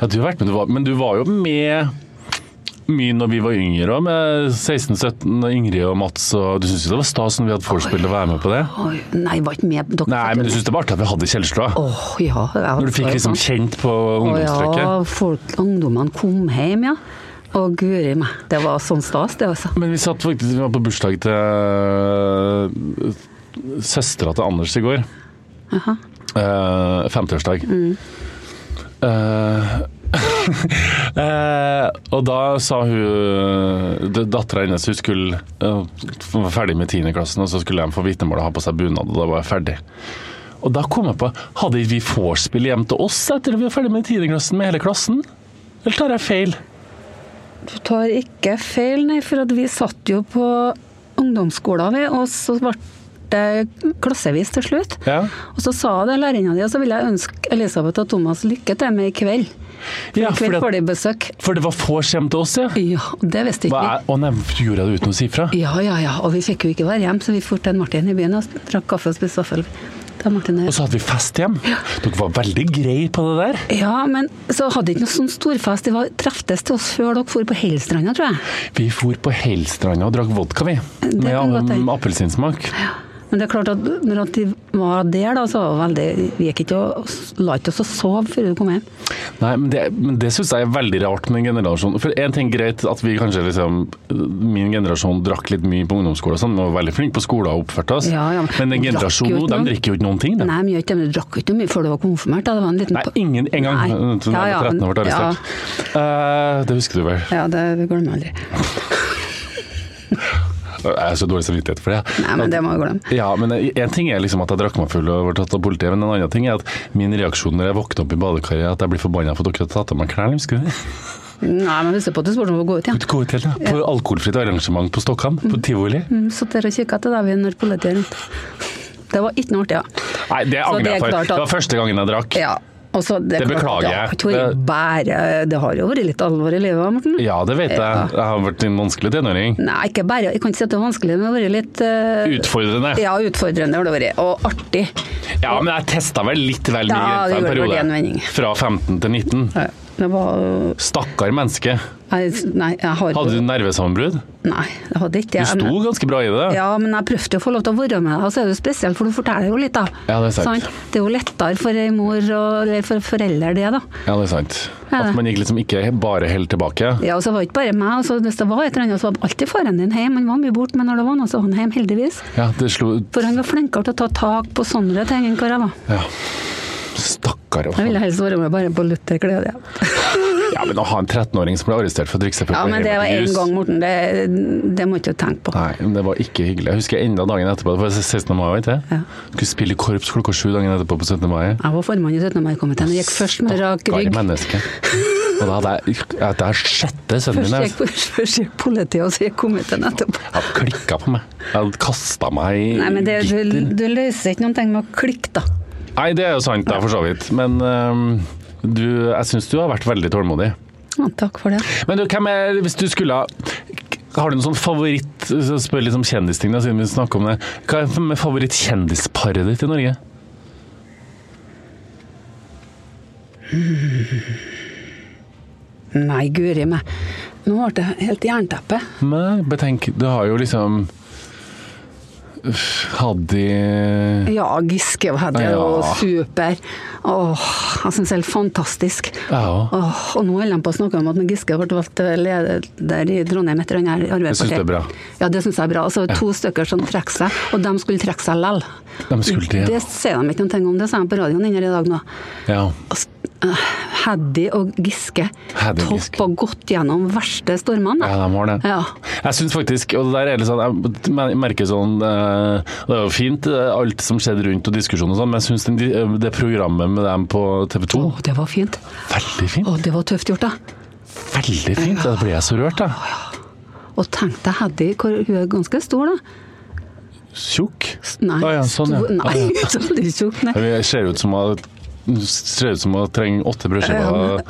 Speaker 3: Ja, du har vært med, du var, men du var jo med mye når vi var yngre òg, med 16-17 og Ingrid og Mats og Du syntes jo det var stas når vi hadde vorspiel å være med på det?
Speaker 4: Oi, nei, var ikke med dere.
Speaker 3: Nei, men du syntes det var artig at vi hadde kjellerstua?
Speaker 4: Åh, ja. jeg
Speaker 3: Når du fikk
Speaker 4: var-
Speaker 3: liksom kjent på
Speaker 4: Å
Speaker 3: ungdomstrykket?
Speaker 4: Ja, folk, ungdommene kom hjem, ja. Og guri meg, det var sånn stas, det altså.
Speaker 3: Men vi satt faktisk vi var på bursdag til øh, søstera til Anders i går. Eh, 50-årsdag. Eh, [laughs] eh, og da sa hun Dattera hennes hun skulle eh, hun var ferdig med 10. klassen, og så skulle de få vitnemål og ha på seg bunad, og da var jeg ferdig. Og da kom jeg på Hadde vi vorspiel hjem til oss etter at vi var ferdig med 10. klassen med hele klassen? Eller tar jeg feil?
Speaker 4: Du tar ikke feil, nei, for at vi satt jo på ungdomsskolen, vi, og så ble det klassevis til slutt.
Speaker 3: Ja.
Speaker 4: Og så sa det lærerinna di, og så vil jeg ønske Elisabeth og Thomas lykke til med i kveld.
Speaker 3: Ja,
Speaker 4: I
Speaker 3: for
Speaker 4: kveld
Speaker 3: det-
Speaker 4: får de besøk.
Speaker 3: For det var vors hjem til oss, ja?
Speaker 4: Ja, det visste ikke
Speaker 3: Hva
Speaker 4: vi.
Speaker 3: er, å nei, gjorde jeg det uten å si fra?
Speaker 4: Ja, ja, ja, og vi fikk jo ikke være hjemme, så vi dro til Martin i byen og drakk kaffe og spiste vaffel. Da Martin og jeg.
Speaker 3: Og så hadde vi fest hjem. Dere var veldig greie på det der.
Speaker 4: Ja, men så hadde ikke noe sånn storfest. Det var treftes til oss før dere for på Hellstranda, tror jeg.
Speaker 3: Vi for på Hellstranda og drakk vodka, vi.
Speaker 4: Det
Speaker 3: Med
Speaker 4: kan godt hende.
Speaker 3: um, appelsinsmak.
Speaker 4: Men det er klart at når at de var der, da, så var det veldig Vi gikk ikke og la ikke oss å sove før vi kom hjem.
Speaker 3: Nei, men det, men det syns jeg er veldig rart med en generasjon. For én ting greit at vi kanskje liksom Min generasjon drakk litt mye på ungdomsskolen og sånn, men var veldig flink på skolen og oppførte oss.
Speaker 4: Ja, ja, men
Speaker 3: Men en
Speaker 4: de drakk
Speaker 3: generasjon
Speaker 4: jo
Speaker 3: nå,
Speaker 4: ikke
Speaker 3: de
Speaker 4: noe.
Speaker 3: drikker jo ikke noen ting, de.
Speaker 4: Nei, men gjør ikke det, men du drakk jo ikke mye før du var konfirmert. Da. Det var en liten
Speaker 3: Nei, ingen en gang.
Speaker 4: Nei.
Speaker 3: Hun
Speaker 4: Ja, ja,
Speaker 3: 13 år ble
Speaker 4: ja.
Speaker 3: arrestert. Eh, det husker du vel?
Speaker 4: Ja, det glemmer jeg aldri.
Speaker 3: Jeg har så dårlig samvittighet for det.
Speaker 4: Nei, men det må jeg glemme.
Speaker 3: Ja, men En ting er liksom at jeg drakk meg full og ble tatt av politiet, men en annen ting er at min reaksjon når jeg våkner opp i badekaret, er at jeg blir forbanna for at dere har tatt av meg klærne. Husker du det?
Speaker 4: Nei, men husk på at du spurte om å gå ut igjen.
Speaker 3: Gå ut helt, da. På alkoholfritt arrangement på Stokkan, på tivoli.
Speaker 4: Mm, Satt der og kikka etter deg vi når politiet er rundt. Det var ikke noe artig, ja.
Speaker 3: Nei, det
Speaker 4: Så
Speaker 3: angrer
Speaker 4: det er
Speaker 3: jeg for.
Speaker 4: klart at-
Speaker 3: Det var første gangen jeg drakk.
Speaker 4: ja. og så- det, er
Speaker 3: Det
Speaker 4: klart at
Speaker 3: beklager jeg.
Speaker 4: Det har, ikke vært bare, det har jo vært litt alvor i livet, Morten.
Speaker 3: Ja, det vet jeg.
Speaker 4: Ja.
Speaker 3: Jeg har vært en vanskelig tenåring.
Speaker 4: Nei, ikke bare. Jeg kan ikke si at det er vanskelig, men det har vært litt eh,
Speaker 3: Utfordrende.
Speaker 4: ja, utfordrende, har det vært. Og artig.
Speaker 3: Ja, men jeg testa vel litt vel mye grenser
Speaker 4: Ja, det
Speaker 3: en
Speaker 4: gjorde vel det en vending.
Speaker 3: periode. Fra 15 til 19.
Speaker 4: Ja, Det var
Speaker 3: Stakkar menneske.
Speaker 4: Nei, nei jeg har
Speaker 3: Hadde du nervesammenbrudd?
Speaker 4: Nei, jeg hadde ikke
Speaker 3: Du
Speaker 4: det.
Speaker 3: sto
Speaker 4: Men-
Speaker 3: ganske bra i det.
Speaker 4: Ja, men jeg prøvde jo å få lov til å være med deg, og så er det jo spesielt, for du forteller jo litt, da.
Speaker 3: Ja, det er sant.
Speaker 4: Det er jo lettere for ei mor og eller for foreldre, det, da.
Speaker 3: Ja, det er sant.
Speaker 4: Ja,
Speaker 3: At
Speaker 4: det.
Speaker 3: man gikk liksom ikke bare helt tilbake.
Speaker 4: Ja, og så var det ikke bare meg. og så hvis det var et eller annet, så var alltid faren din hjemme. Han var mye borte, men når det var noe, så var han hjemme, heldigvis.
Speaker 3: Ja, det slo
Speaker 4: For han var flinkere til å ta tak på sånne ting enn hva jeg var.
Speaker 3: Ja. Stakkar.
Speaker 4: Jeg ville helst vært med bare på lutter glede. Ja.
Speaker 3: Ja, men å ha en 13-åring som ble arrestert for å drikke seg full
Speaker 4: Ja,
Speaker 3: på
Speaker 4: men det var
Speaker 3: Hamilton
Speaker 4: én
Speaker 3: Jus.
Speaker 4: gang, Morten. Det, det må ikke du tenke på.
Speaker 3: Nei, men det var ikke hyggelig. Jeg husker enda dagen etterpå, det var 16. mai, vet du.
Speaker 4: Ja.
Speaker 3: Skulle spille i korps klokka sju dagen etterpå på 17. mai.
Speaker 4: Jeg var formann i 17. mai-komiteen og gikk først med rak
Speaker 3: Stakkar
Speaker 4: rygg.
Speaker 3: menneske. Og da hadde jeg, ja, det er sjette sønnen min.
Speaker 4: Først
Speaker 3: Jeg
Speaker 4: gikk, først gikk politiet, og så gikk komiteen etterpå.
Speaker 3: jeg hadde klikka på meg. Jeg hadde kasta meg i
Speaker 4: Nei, men det, du,
Speaker 3: gitter.
Speaker 4: du løser ikke noen ting med å klikke, da.
Speaker 3: Nei, det er jo sant, da, for så vidt. Men øhm, du, jeg syns du har vært veldig tålmodig.
Speaker 4: Ja, takk for det.
Speaker 3: Men du, hvem er, hvis du skulle ha- har du noen sånn favoritt så Spør litt om kjendisting, da, siden vi snakker om det. Hva er med favorittkjendisparet ditt i Norge?
Speaker 4: Nei, guri meg. Nå ble det helt jernteppe.
Speaker 3: Nei, betenk, du har jo liksom Uff, Hadde
Speaker 4: Ja, Giske var det,
Speaker 3: Ja.
Speaker 4: og super. Åh, jeg syns det er helt fantastisk.
Speaker 3: Ja,
Speaker 4: Åh, og nå holder de på å snakke om at når Giske ble valgt til leder i Trondheim etter den her Arbeiderpartiet.
Speaker 3: synes det er bra.
Speaker 4: Ja, det syns jeg er bra. Altså, to stykker som trekker seg, og de skulle trekke seg lell.
Speaker 3: de skulle det.
Speaker 4: Det sier de ikke noen ting om, det sa de på radioen inne i dag nå.
Speaker 3: Ja.
Speaker 4: Altså, Heddy og Giske
Speaker 3: Heddy og Giske.
Speaker 4: toppa godt gjennom verste stormene.
Speaker 3: Ja, de har det.
Speaker 4: Ja.
Speaker 3: Jeg syns faktisk, og det der er litt sånn, jeg mer- merker sånn eh, Det er jo fint eh, alt som skjedde rundt og diskusjonen og sånn, men jeg syns det programmet med dem på TV 2
Speaker 4: Å, det var fint.
Speaker 3: Veldig fint.
Speaker 4: Å, det var tøft gjort, da.
Speaker 3: Veldig fint. Da ble jeg så rørt, jeg.
Speaker 4: Og tenk deg Heddy, hvor- hun er ganske stor, da.
Speaker 3: Tjukk.
Speaker 4: S- Nei,
Speaker 3: Å ja, sånn, ja.
Speaker 4: stor, nei [laughs]
Speaker 3: Å
Speaker 4: veldig tjukk. Nei.
Speaker 3: Jeg ser ut som jeg, ser ut som jeg trenger åtte brødskiver.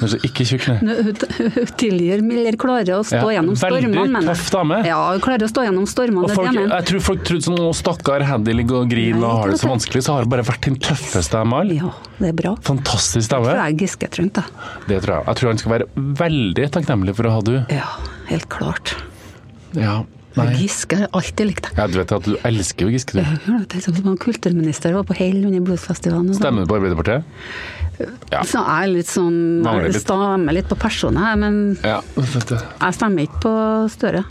Speaker 3: Kanskje Ikke tjukk, nei.
Speaker 4: Hun- Hun hun tilgir Miller klarer å stå
Speaker 3: Ja,
Speaker 4: gjennom
Speaker 3: veldig
Speaker 4: stormene. mener jeg.
Speaker 3: tøff dame.
Speaker 4: Ja, hun klarer å stå gjennom stormene.
Speaker 3: Og
Speaker 4: det er det
Speaker 3: folk,
Speaker 4: jeg mener.
Speaker 3: jeg tror folk trodde sånn Å, stakkar, Handy ligger og griner
Speaker 4: Nei,
Speaker 3: og har det så
Speaker 4: ikke sant.
Speaker 3: vanskelig, så har det bare vært den tøffeste av dem alle.
Speaker 4: Ja, det er bra.
Speaker 3: Fantastisk
Speaker 4: Tror
Speaker 3: stemme.
Speaker 4: jeg Giske trengte det.
Speaker 3: Det tror jeg. Jeg tror han skal være veldig takknemlig for å ha du.
Speaker 4: Ja, helt klart.
Speaker 3: Ja. Nei.
Speaker 4: Giske har jeg alltid likt det.
Speaker 3: Ja, du vet at du elsker jo Giske, du.
Speaker 4: Det er som om han kulturminister var på hell under bluesfestivalen. og sånn.
Speaker 3: Stemmer du på Arbeiderpartiet?
Speaker 4: Så jeg er litt sånn
Speaker 3: Mangler
Speaker 4: Jeg
Speaker 3: litt.
Speaker 4: stemmer litt på personer, jeg, men
Speaker 3: Ja.
Speaker 4: jeg stemmer ikke på Støre.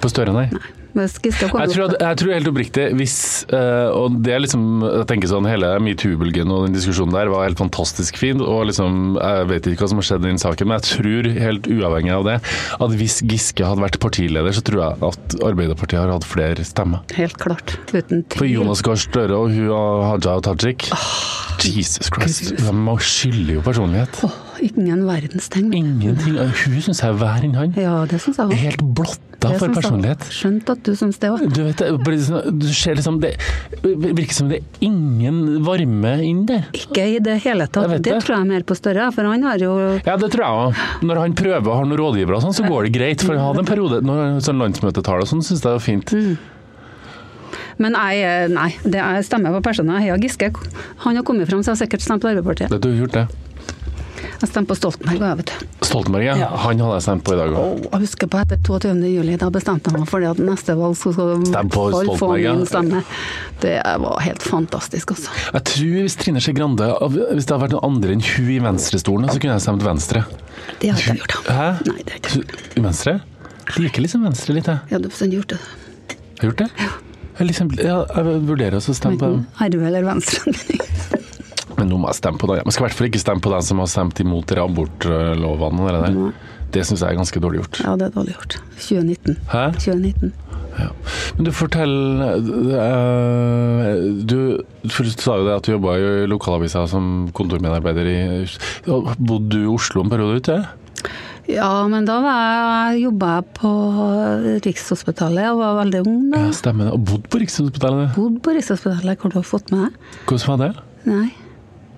Speaker 3: På Støre, nei.
Speaker 4: Hvis Giske kommer
Speaker 3: Jeg tror,
Speaker 4: opp
Speaker 3: at, jeg tror helt oppriktig hvis eh, Og det er liksom Jeg tenker sånn Hele metoo-bølgen og den diskusjonen der var helt fantastisk fin, og liksom Jeg vet ikke hva som har skjedd i den saken, men jeg tror, helt uavhengig av det, at hvis Giske hadde vært partileder, så tror jeg at Arbeiderpartiet har hatt flere stemmer.
Speaker 4: Helt klart. Uten
Speaker 3: For
Speaker 4: tvil.
Speaker 3: Jonas Gahr Støre og hun og Haja og Tajik Jesus Christ. De skylder jo personlighet.
Speaker 4: Ah, Åh, ingen verdens ting.
Speaker 3: Ingenting. Hun syns jeg er verre enn han.
Speaker 4: Ja, det syns jeg òg.
Speaker 3: Helt blotta for personlighet.
Speaker 4: Skjønt at du syns det òg.
Speaker 3: Du vet, det, bare sånn- du ser liksom det virker som det er ingen varme inn der.
Speaker 4: Ikke i det hele tatt.
Speaker 3: Jeg
Speaker 4: Det,
Speaker 3: vet det.
Speaker 4: tror jeg mer på Støre, for han har jo
Speaker 3: Ja, det tror jeg òg. Når han prøver og har noen rådgivere, og sånn, så går det greit. For jeg hadde en periode når sånn landsmøtetall og sånn, syns jeg det var fint.
Speaker 4: Men jeg, er- nei, det jeg stemmer på personer. Heia Giske. Han har kommet fram, så jeg har sikkert stemt på Arbeiderpartiet.
Speaker 3: Det du har gjort, det.
Speaker 4: Jeg stemte på Stoltenberg òg, vet du.
Speaker 3: Stoltenberg, ja.
Speaker 4: Ja.
Speaker 3: Han hadde jeg stemt på i dag òg.
Speaker 4: Og Jeg husker på etter 22. juli, da bestemte jeg meg for det at neste valg så skal i
Speaker 3: Stem på
Speaker 4: hvert fall få
Speaker 3: Stoltenberg, ja.
Speaker 4: min stemme. Det var helt fantastisk, altså.
Speaker 3: Jeg tror hvis Trine Skei Grande Hvis det hadde vært noen andre enn hun i venstrestolen, så kunne jeg stemt Venstre.
Speaker 4: Det har ikke jeg gjort. da.
Speaker 3: Hæ?
Speaker 4: Nei, det har ikke jeg
Speaker 3: Så,
Speaker 4: gjort.
Speaker 3: venstre? Liker liksom Venstre litt, jeg.
Speaker 4: Jeg hadde bestemt gjort det.
Speaker 3: Har du gjort det? Jeg, liksom, ja, jeg vurderer også å stemme på
Speaker 4: Enten RV eller Venstre.
Speaker 3: Men nå må jeg stemme på den. Man skal i hvert fall ikke stemme på den som har stemt imot dere abortlovene. og Det, der. det syns jeg er ganske dårlig gjort.
Speaker 4: Mm. Ja, det er dårlig gjort. 2019.
Speaker 3: Hæ?
Speaker 4: 2019.
Speaker 3: Ja. Men du fortell øh, Du for du sa jo det at du jobba i lokalavisa som kontormedarbeider i og Bodde du i Oslo en periode ute?
Speaker 4: Ja, men da var jeg, jobba jeg på Rikshospitalet og var veldig ung da.
Speaker 3: Ja, stemmer det. Og bodde på Rikshospitalet?
Speaker 4: Bodd på Rikshospitalet, hvor du har fått med deg.
Speaker 3: Hvordan var det?
Speaker 4: Nei.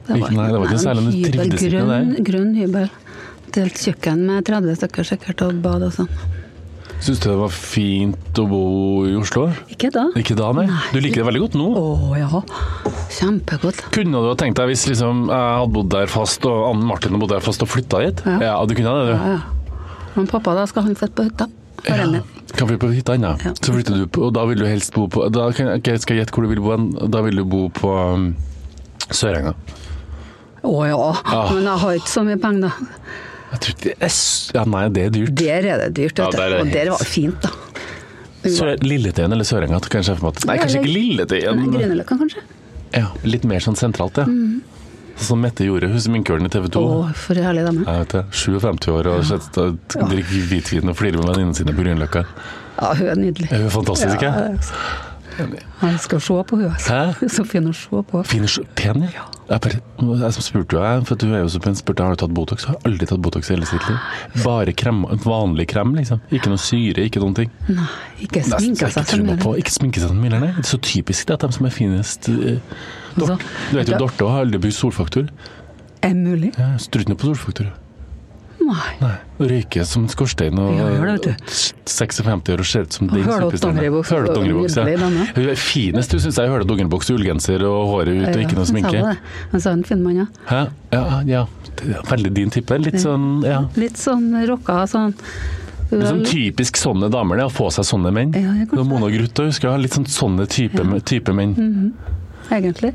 Speaker 3: Ikke- nei, det var ikke
Speaker 4: en
Speaker 3: særlig, men du
Speaker 4: hybel,
Speaker 3: trivdes ikke
Speaker 4: grønn,
Speaker 3: der.
Speaker 4: Grønn hybel. Delt kjøkken med 30 stykker sikkert, og bad og sånn.
Speaker 3: Syns du det var fint å bo i Oslo?
Speaker 4: Ikke da?
Speaker 3: Ikke da, nei. Du liker det veldig godt nå?
Speaker 4: Å ja. Kjempegodt.
Speaker 3: Kunne du ha tenkt deg hvis liksom, jeg hadde bodd der fast, og Anne Martin hadde bodd der fast og flytta hit?
Speaker 4: Ja.
Speaker 3: Ja, du kunne det, du.
Speaker 4: Ja, ja. Men pappa, da skal han sitte på hytta. Ja.
Speaker 3: Kan flytte på hytta ennå.
Speaker 4: Ja.
Speaker 3: Så flytter du på, og da vil du helst bo på Da kan, ok, skal jeg gjette hvor du vil bo hen. Da vil du bo på um, Sørenga.
Speaker 4: Å ja.
Speaker 3: Ah.
Speaker 4: Men jeg har ikke så mye penger, da.
Speaker 3: Jeg tror ikke det er s- Ja, nei, det er dyrt.
Speaker 4: Der er det dyrt,
Speaker 3: Ja,
Speaker 4: vet du.
Speaker 3: der er det
Speaker 4: og der
Speaker 3: helt-
Speaker 4: var det fint, da.
Speaker 3: Sør, Lilletøyen eller Sørenga, kan jeg se for meg. at- Nei, kanskje ikke Lilletøyen.
Speaker 4: Grünerløkka, kanskje?
Speaker 3: Ja, litt mer sånn sentralt, ja. Sånn som Mette gjorde, hun sminkøren i TV 2.
Speaker 4: Å, for en herlig dame.
Speaker 3: Jeg vet det. 57 år og ja. drikker hvitvin og flirer med venninnene sine på Grünerløkka.
Speaker 4: Ja, hun er nydelig.
Speaker 3: Hun er fantastisk,
Speaker 4: Ja,
Speaker 3: ikke?
Speaker 4: Jeg skal se på hun, altså.
Speaker 3: Hæ?
Speaker 4: Hun er så fin å se på.
Speaker 3: Fin og sj- pen, ja. Jeg, bare, jeg som spurte henne, for du er jo så pen, spurte jeg har du tatt Botox. Jeg har aldri tatt Botox i hele sitt liv.
Speaker 4: Ah.
Speaker 3: Bare krem, vanlig krem, liksom. Ikke noe syre, ikke noen ting.
Speaker 4: Nei, ikke
Speaker 3: Nesten så
Speaker 4: sminke
Speaker 3: jeg ikke
Speaker 4: seg så
Speaker 3: tror
Speaker 4: mye.
Speaker 3: noe på. Ikke sminke seg som mye, nei. Det er så typisk det, at de som er finest eh, Dort,
Speaker 4: Altså,
Speaker 3: Du vet jo,
Speaker 4: da-
Speaker 3: Dorte har aldri brukt solfaktor.
Speaker 4: Er mulig?
Speaker 3: Ja, Strutter noe på solfaktor.
Speaker 4: Nei.
Speaker 3: Nei. Røyker som en skorstein og
Speaker 4: Ja, gjør det, vet du.
Speaker 3: 56 år og ser ut som den
Speaker 4: Hølet
Speaker 3: superstjerna.
Speaker 4: dongeriboks,
Speaker 3: Hølet
Speaker 4: så
Speaker 3: dongeriboks,
Speaker 4: nydelig
Speaker 3: ja.
Speaker 4: dame.
Speaker 3: Hun er finest, du syns jeg. Hølet dongeriboks, ullgenser og håret ut og ikke noe
Speaker 4: Ja,
Speaker 3: sminke.
Speaker 4: han sa det. Han sa en fin mann, ja.
Speaker 3: Hæ? Ja, ja. Det er Veldig din type. Litt sånn ja.
Speaker 4: Litt sånn rocka, sånn
Speaker 3: Litt sånn typisk sånne damer, det. Å få seg sånne menn.
Speaker 4: Ja, jeg kan
Speaker 3: Det var Mona Gruth òg, husker jeg. Litt sånn sånne type, type menn.
Speaker 2: Mm.
Speaker 4: egentlig.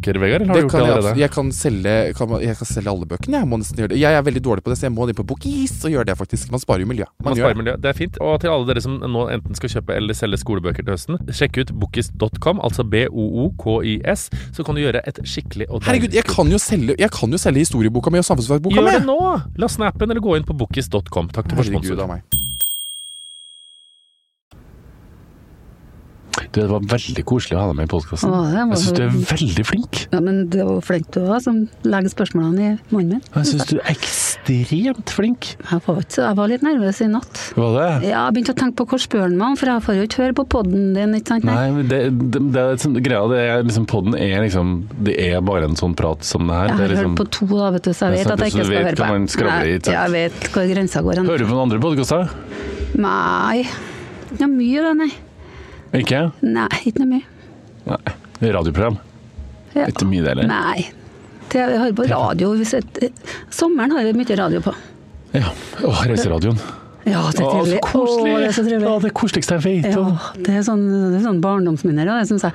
Speaker 1: Vegard? Eller har
Speaker 2: Det
Speaker 1: du gjort
Speaker 2: kan
Speaker 1: det
Speaker 2: jeg,
Speaker 1: allerede?
Speaker 2: abs- jeg, kan selge, kan, man- jeg kan selge alle bøkene. Jeg må nesten gjøre det Jeg er veldig dårlig på det, så jeg må inn på Bokis og gjøre det, faktisk. Man sparer jo miljø.
Speaker 1: Man
Speaker 2: gjør
Speaker 1: sparer miljø. Det er fint. Og til alle dere som nå enten skal kjøpe eller selge skolebøker til høsten, sjekk ut bokis.com, altså B-O-O-K-I-S, så kan du gjøre et skikkelig og
Speaker 2: Herregud, jeg kan jo selge, jeg kan jo selge historieboka mi og samfunnsfagboka
Speaker 1: Gjør
Speaker 2: mi!
Speaker 1: det nå! Last ned appen eller gå inn på bokis.com. Takk til for
Speaker 2: Herregud
Speaker 1: sponsoren.
Speaker 2: av meg.
Speaker 3: Du, det var veldig koselig å ha deg med i podkasten.
Speaker 4: Å, det var-
Speaker 3: Jeg syns du er veldig flink.
Speaker 4: Ja, men det var jo flink du var som legger spørsmålene i munnen min.
Speaker 3: Jeg syns du er ekstremt flink.
Speaker 4: Jeg var, ikke, så- jeg var litt nervøs i natt.
Speaker 3: Var det?
Speaker 4: Ja, jeg begynte å tenke på hvor spør han meg om, for jeg får jo ikke høre på podden din, ikke sant?
Speaker 3: Nei, men det, det, det er sånn, greia det er liksom Podden er liksom Det er bare en sånn prat som det her.
Speaker 4: Jeg
Speaker 3: Det
Speaker 4: har
Speaker 3: er liksom,
Speaker 4: hørt på to, da, vet du,
Speaker 3: Det
Speaker 4: så jeg
Speaker 3: er
Speaker 4: vet at jeg
Speaker 3: sant,
Speaker 4: ikke
Speaker 3: så du
Speaker 4: skal
Speaker 3: vet
Speaker 4: høre på.
Speaker 3: hva man skravler i, ikke
Speaker 4: Nei,
Speaker 3: sant?
Speaker 4: jeg vet hvor grensa går hen.
Speaker 3: hører du på noen andre podkaster?
Speaker 4: Nei, ikke noe mye da, nei.
Speaker 3: Ikke?
Speaker 4: Nei, ikke noe mye.
Speaker 3: Nei. Det er Radioprogram.
Speaker 4: Ja.
Speaker 3: Ikke mye, det heller.
Speaker 4: Nei. Det- Jeg hører på radio. Hvis jeg, sommeren har jeg mye radio på.
Speaker 3: Ja. Å, Reiseradioen.
Speaker 4: Ja, det er
Speaker 3: Å, så
Speaker 4: trivelig.
Speaker 3: koselig!
Speaker 4: Å, det er så
Speaker 3: Å,
Speaker 4: trivelig.
Speaker 3: det koseligste jeg vet.
Speaker 4: Ja,
Speaker 3: om.
Speaker 4: det er sånn, det er sånn barndomsminner, og det syns jeg.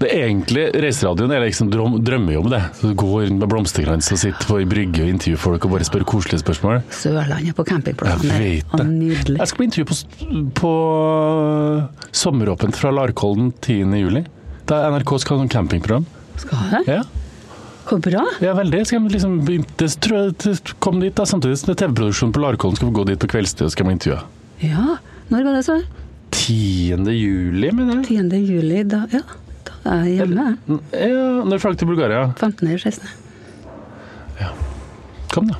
Speaker 3: Det er egentlig Reiseradioen er liksom drøm, drømmer jo om det. Så du går rundt med blomsterkrans og sitter på ei brygge og intervjuer folk og bare spør koselige spørsmål.
Speaker 4: Sørlandet på
Speaker 3: Jeg
Speaker 4: campingplassen. det
Speaker 3: vet
Speaker 4: er Nydelig.
Speaker 3: Jeg skal bli intervjuet på, s- på eh, Sommeråpent fra Larkollen 10. juli. Det er NRK skal ha sånn campingprogram.
Speaker 4: Skal jeg?
Speaker 3: Ja,
Speaker 4: Hvor bra.
Speaker 3: ja veldig. Skal jeg liksom, begyn- det tror jeg det kom dit da, samtidig som det er TV-produksjonen på Larkollen skal vi gå dit på kveldstid og skal bli intervjuet.
Speaker 4: Ja. Når var det, så?
Speaker 3: 10. juli, mener jeg?
Speaker 4: 10. juli. Da, ja. da er jeg hjemme. jeg.
Speaker 3: Ja, når flagg til Bulgaria.
Speaker 4: 15. eller 16.
Speaker 3: Kom da.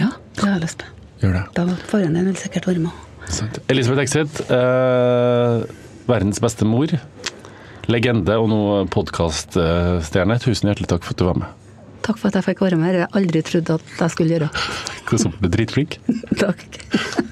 Speaker 4: Ja, det har jeg lyst på.
Speaker 3: Gjør det.
Speaker 4: Da var faren din vil sikkert være med.
Speaker 3: Sant. Elisabeth Exit, eh, verdens beste mor. Legende og nå podkaststjerne. Tusen hjertelig takk for at du var med.
Speaker 4: Takk for at jeg fikk være med. Det har jeg aldri trodd at jeg skulle gjøre.
Speaker 3: Hvordan ble du dritflink?
Speaker 4: Takk.